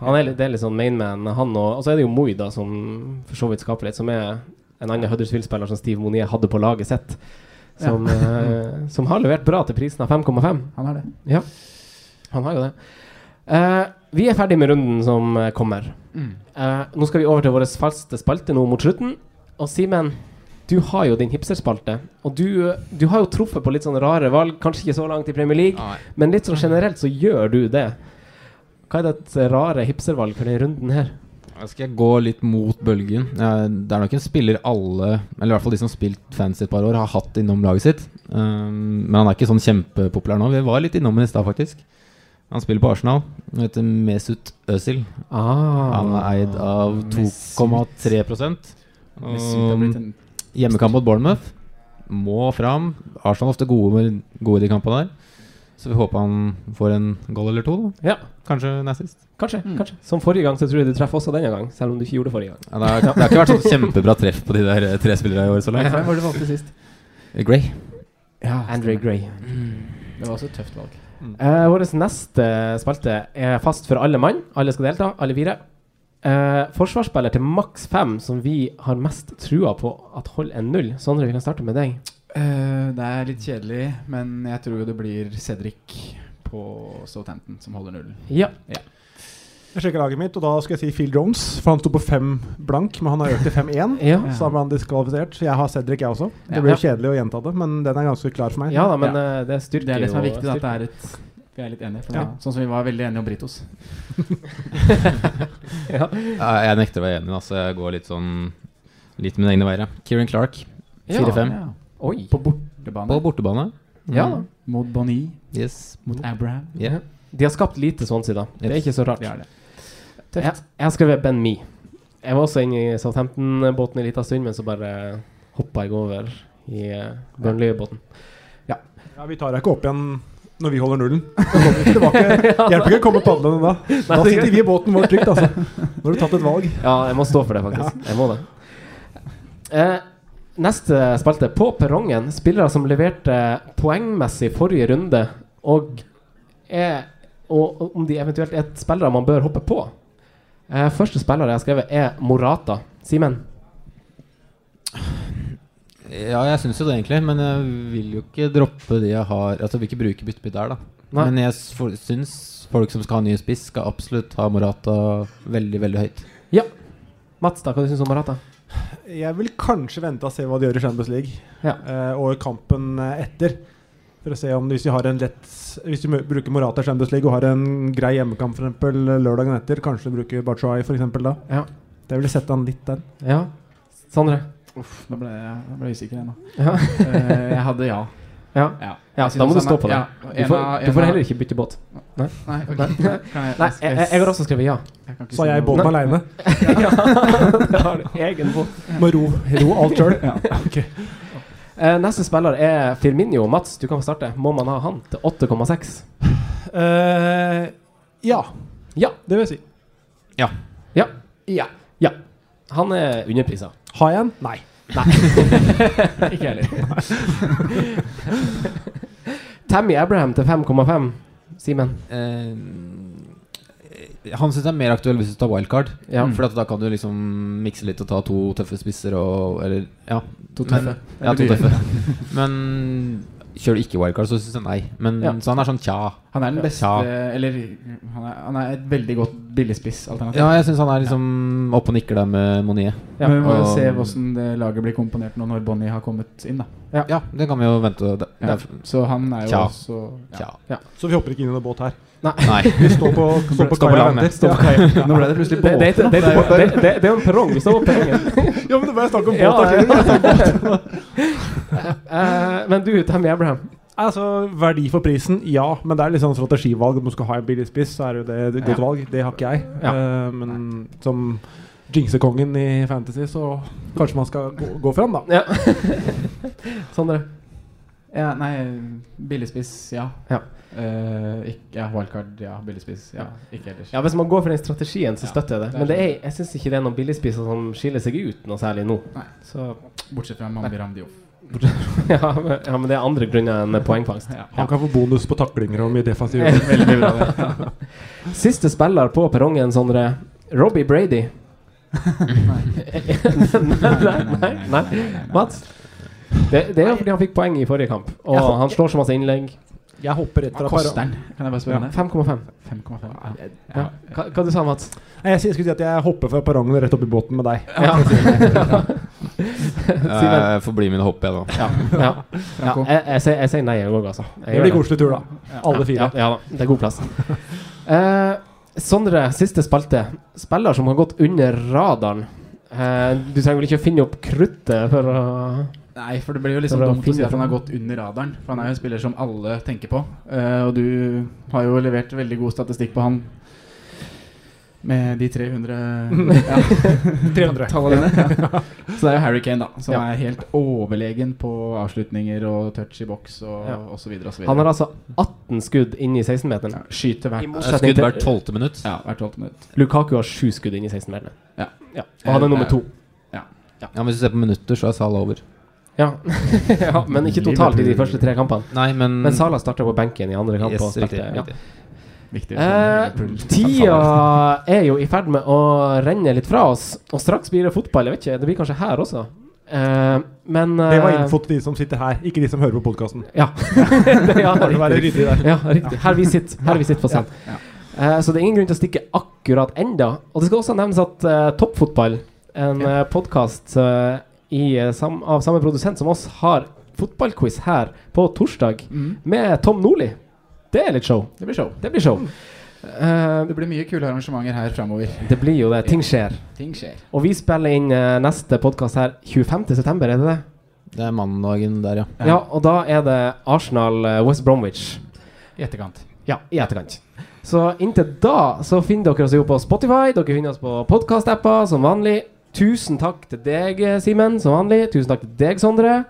C: Han er litt, det er litt sånn mainman, han og Og så er det jo Moi, da, som for så vidt skaper litt, som er en annen Huddersfield-spiller som Steve Monier hadde på laget sitt. Som,
D: Ja.
C: eh, som har levert bra til prisen av 5,5.
D: Han har det.
C: Ja, han har jo det. Eh, vi er ferdig med runden som eh, kommer.
D: Mm.
C: Eh, nå skal vi over til vår faste spalte nå mot slutten. Og Simen, du har jo din hipsterspalte. Og du, du har jo truffet på litt sånne rare valg, kanskje ikke så langt i Premier League, men litt sånn generelt så gjør du det. Hva er ditt eh, rare hipstervalg for denne runden her?
F: Da skal jeg gå litt mot bølgen. Eh, Det er nok en spiller alle, eller i hvert fall de som har spilt fancy et par år, har hatt innom laget sitt. Um, men han er ikke sånn kjempepopulær nå. Vi var litt innom ham i stad, faktisk. Han spiller på Arsenal. Han heter Mesut Özil.
D: Ah.
F: han er eid av 2,3 Og
D: Mesut har blitt en-
F: Um, Hjemmekamp mot Bournemouth. Må fram. Arsenal er ofte gode, med, gode i de kampene der. Så vi håper han får en goal eller to.
C: Ja.
F: Da.
C: Mm.
F: Kanskje nazist.
C: Kanskje. kanskje Som forrige gang, så tror jeg du treffer også denne gang, selv om du ikke gjorde det forrige gang.
F: Ja, det, har, det har ikke vært sånn kjempebra treff på de der eh, tre spillere i år så langt.
C: Hvem var det du valgte sist?
F: Gray.
C: Ja, Andre Gray.
D: Det var også et tøft valg.
C: Eh, Vår neste spalte er fast for alle mann. Alle skal delta, alle fire. Eh, forsvarsspiller til maks fem som vi har mest trua på at holder en null. Sondre, vi kan starte med deg.
D: Eh, det er litt kjedelig, men jeg tror jo det blir Cedric på Southampton som holder nullen.
C: Ja.
E: Jeg sjekka laget mitt, og da skulle jeg si Phil Jones. For han sto på 5 blank, men han har økt til 5-1.
C: Ja.
E: Så da ble han diskvalifisert. Så jeg har Cedric, jeg også.
D: Ja.
E: Det blir jo
D: Ja.
E: kjedelig å gjenta det, men den er ganske klar for meg.
C: Ja da, men eh, det styrker
D: Det er det som er
C: jo-
D: viktig, da, at det er et Vi er litt enige. For
C: Ja.
D: nå, Sånn som vi var veldig enige om Britos.
C: ja.
F: Ja, jeg nekter å være enig, altså. Jeg går litt sånn Litt mine egne veier. ja. Kieran Clark, 4-5.
D: Ja.
C: Oi.
D: På bortebane.
F: På bortebane.
C: Ja da.
D: Mot Bonny.
F: Yes.
D: Mot Abraham.
F: Yeah.
C: De har skapt lite sånn siden. Det er
F: Yes.
C: ikke så rart.
D: Det er det.
C: Jeg, jeg har skrevet Ben Me. Jeg var også inne i Southampton-båten en liten stund, men så bare hoppa jeg over i eh, Burnley-båten. Ja.
E: Ja, vi tar deg ikke opp igjen når vi holder nullen. Da kommer vi ikke tilbake. Hjelper ikke å komme padlende da. Da
C: Nei, det-
E: sitter vi i båten vår trygt, altså. Nå har du tatt et valg.
C: Ja, jeg må stå for det, faktisk. Jeg må det. Eh, neste spalte. På perrongen, spillere som leverte poengmessig forrige runde, og, er, og og om de eventuelt er spillere man bør hoppe på. Eh, første spiller jeg har skrevet, er Morata. Simen?
F: Ja, jeg syns jo det, egentlig. Men jeg vil jo ikke droppe de jeg har Altså, jeg vil ikke bruke byttebytt der, da.
C: Nei.
F: Men jeg s- for- syns folk som skal ha ny spiss, skal absolutt ha Morata veldig, veldig høyt.
C: Ja. Mats, da, hva syns du om Morata?
E: Jeg vil kanskje vente og se hva de gjør i Champions League
C: Ja.
E: eh, og i kampen eh, etter. For å se om Hvis vi, har en lett, hvis vi bruker Morata i Champions League og har en grei hjemmekamp for eksempel, lørdagen etter, kanskje du bruker Bachoi da?
C: Ja.
E: Det ville sette han litt den.
C: Ja. Sondre?
D: Uff, nå ble jeg, jeg ble usikker ennå.
C: Ja.
D: Eh, jeg hadde ja.
C: Ja,
D: Ja.
C: ja
D: Jeg synes
C: da må du
D: han
C: stå
D: er-
C: på det.
D: ja,
C: Du
D: en
C: får,
D: av-
C: du
D: en
C: får
D: av-
C: heller ikke bytte båt. Nei,
D: Nei, ok.
C: Nei.
D: Kan jeg-
C: Nei,
D: skal
C: jeg,
D: jeg-
C: jeg, jeg har også skrevet ja.
D: Jeg kan ikke
E: Så er jeg i båten
C: Nei.
E: alene.
C: ja, det har du. Egen båt.
E: Må ro, ro alt sjøl.
D: Ja.
E: Ok.
C: Eh, neste spiller er Firminio. Mats, du kan få starte. Må man ha han til 8,6?
E: Eh, ja.
C: Ja.
E: Det vil jeg si.
C: Ja. Ja. Ja. ja. Han er underprisa.
E: Har jeg en? Nei.
C: Nei. Ikke jeg heller. Tammy Abraham til 5,5. Simen?
F: Eh, Han syns jeg er mer aktuell hvis du tar wildcard.
C: Ja.
F: For at da kan du liksom mikse litt og ta to tøffe spisser og Eller ja.
C: To
F: Men-
C: tøffe.
F: ja, to
C: Eller dyre.
F: tøffe. Men kjører du ikke wildcard, så syns jeg nei. Men
D: Ja.
F: Så han er sånn tja.
D: Han er den beste
F: Tja.
D: Eller han er, han er et veldig godt billigspissalternativ.
F: Ja, jeg syns han er liksom oppe og nikker der med Monier.
D: Men vi må jo
F: Og-
D: se hvordan det laget blir komponert nå når Bonnie har kommet inn, da.
C: Ja,
F: det kan vi jo vente. og Det,
D: Ja,
F: det er-
D: så han er jo
F: Tja.
D: også
F: Tja.
E: Så vi hopper ikke inn i noen båt her.
C: Nei.
F: Nei.
E: Vi står på, står på
F: Står på
E: kaia og
F: land, ja.
E: venter.
F: Står på kaia.
E: Ja.
D: Nå ble det plutselig
C: Det,
D: båt.
C: det, er ikke- det, er ikke- det, det, det er jo en perrong. Vi står på perrongen.
E: Ja, men det var snakk om båt.
C: Ja,
E: da,
C: ja.
E: skjønner du?
C: Eh, men du, Tammy Abraham.
E: Altså, Verdi for prisen, ja. Men det er litt sånn strategivalg. Om du skal ha en billig spiss, så er jo det et godt
C: Ja.
E: valg. Det har ikke jeg. Eh, men som jinxekongen i Fantasy, så kanskje man skal gå, gå fram, da.
C: Ja. Sondre?
D: Ja, nei, billigspiss, ja.
C: Ja.
D: Eh, ikke, ja, wildcard, ja. Billigspiss, ja. Ikke ellers.
C: Ja, Hvis man går for den strategien, så støtter jeg det.
D: det er
C: Men det er, jeg syns ikke det er noen billigspisser som skiller seg ut noe særlig nå.
D: Nei.
C: Så,
D: Bortsett fra Mambi Ramdiof.
C: ja, men, ja, men det er andre grunner enn poengfangst.
E: Han kan få bonus på taklinger og mye defensiv.
D: Veldig bra. det.
C: Siste spiller på perrongen, Sondre. Robbie Brady. nei, nei, nei, nei, Mats? Det, det er jo fordi han fikk poeng i forrige kamp, og
E: Ja.
C: han slår så masse innlegg.
E: Jeg hopper rett
D: Hva
E: fra
D: koster
E: perrongen.
D: den? Kan jeg bare spørre
C: Ja,
D: om det?
C: 5,5.
D: 5,5. Ja.
C: Ja. Hva, hva du sa Mats?
E: Nei, Jeg skulle si at jeg hopper fra perrongen og rett opp i båten med deg.
C: Ja. Simen?
F: Eh, Jeg får bli med og hoppe, jeg, da.
C: Ja. ja. ja. Jeg, jeg, sier- jeg sier nei, jeg òg, altså. Jeg
E: Det
C: gjør
E: blir koselig tur, da. Alle
C: Ja,
E: fire.
C: ja da, det er god plass. Eh, Sondre, siste spalte. Spiller som har gått under radaren. Eh, du trenger vel ikke å finne opp kruttet for å
D: Nei, for det blir jo liksom
C: Det er
D: dumt å si
C: fint,
D: at han har
C: ja.
D: gått under radaren. For han er jo en spiller som alle tenker på. Eh, og du har jo levert veldig god statistikk på han med de 300 ja,
E: 300.
D: tallene dine. Ja. Så det er jo Harry Kane, da. Som
C: Ja.
D: er helt overlegen på avslutninger og touch i boks og
C: Ja.
D: og så videre og så
C: Han
D: videre.
C: har altså 18 skudd inn i 16-meteren.
D: Skyter
C: I
D: hvert,
C: motsetning
F: Skudd hvert
C: til
F: tolvte minutt.
D: ja, hvert tolvte minutt.
C: Lukaku har 7 skudd inn i 16-meteren.
D: Ja.
C: Ja. Og han er
F: Eh,
C: nummer to.
F: Ja, men Hvis du ser på minutter, så er Sala over.
C: Ja. ja, men ikke totalt i de første tre kampene.
F: Nei, men,
C: Men Salah starta på benken i andre kamp. og
F: yes,
C: spilte-
F: riktig,
C: ja.
F: riktig. sånn
D: Viktig.
C: Eh, tida er jo i ferd med å renne litt fra oss, og straks blir det fotball. Jeg vet ikke, Det blir kanskje her også. Eh, men eh,
E: Det var info til de som sitter her, ikke de som hører på podkasten.
C: Ja. Det- ja,
E: Bare være
C: riktig.
E: ryddig der.
C: ja, riktig. Her vi sitter, her vi sitter på scenen. Eh, så det er ingen grunn til å stikke akkurat enda. Og det skal også nevnes at eh, Toppfotball, en uh, podkast eh, sam av samme produsent som oss, har fotballquiz her på torsdag med Tom Nordli. Det er litt show.
D: Mm. Det blir show.
C: Det blir show. Eh,
D: Det blir mye kule arrangementer her framover.
C: det blir jo det. Ting skjer.
D: Ting skjer.
C: Og vi spiller inn eh, neste podkast her 25. september, er det det?
F: Det er mandagen der, ja.
D: Ja.
C: Ja, og da er det Arsenal eh, West Bromwich.
D: I etterkant.
C: Ja, i etterkant. Så inntil da så finner dere oss jo på Spotify, dere finner oss på podkast-apper som vanlig. Tusen takk til deg, eh, Simen, som vanlig. Tusen takk til deg, Sondre.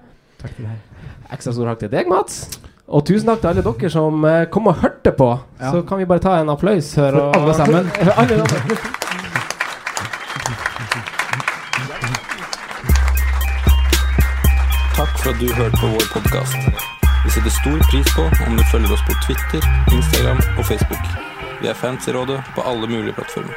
D: Takk til deg.
C: Ekstra stor takk til deg, Mats. Og tusen takk til alle dere som eh, kom og hørte på.
D: Ja.
C: Så kan vi bare ta en applaus her. og-
D: alle sammen.
C: For alle sammen.
B: Takk for at du hørte på vår podkast. Vi setter stor pris på om du følger oss på Twitter, Instagram og Facebook. Vi er fans i rådet på alle mulige plattformer.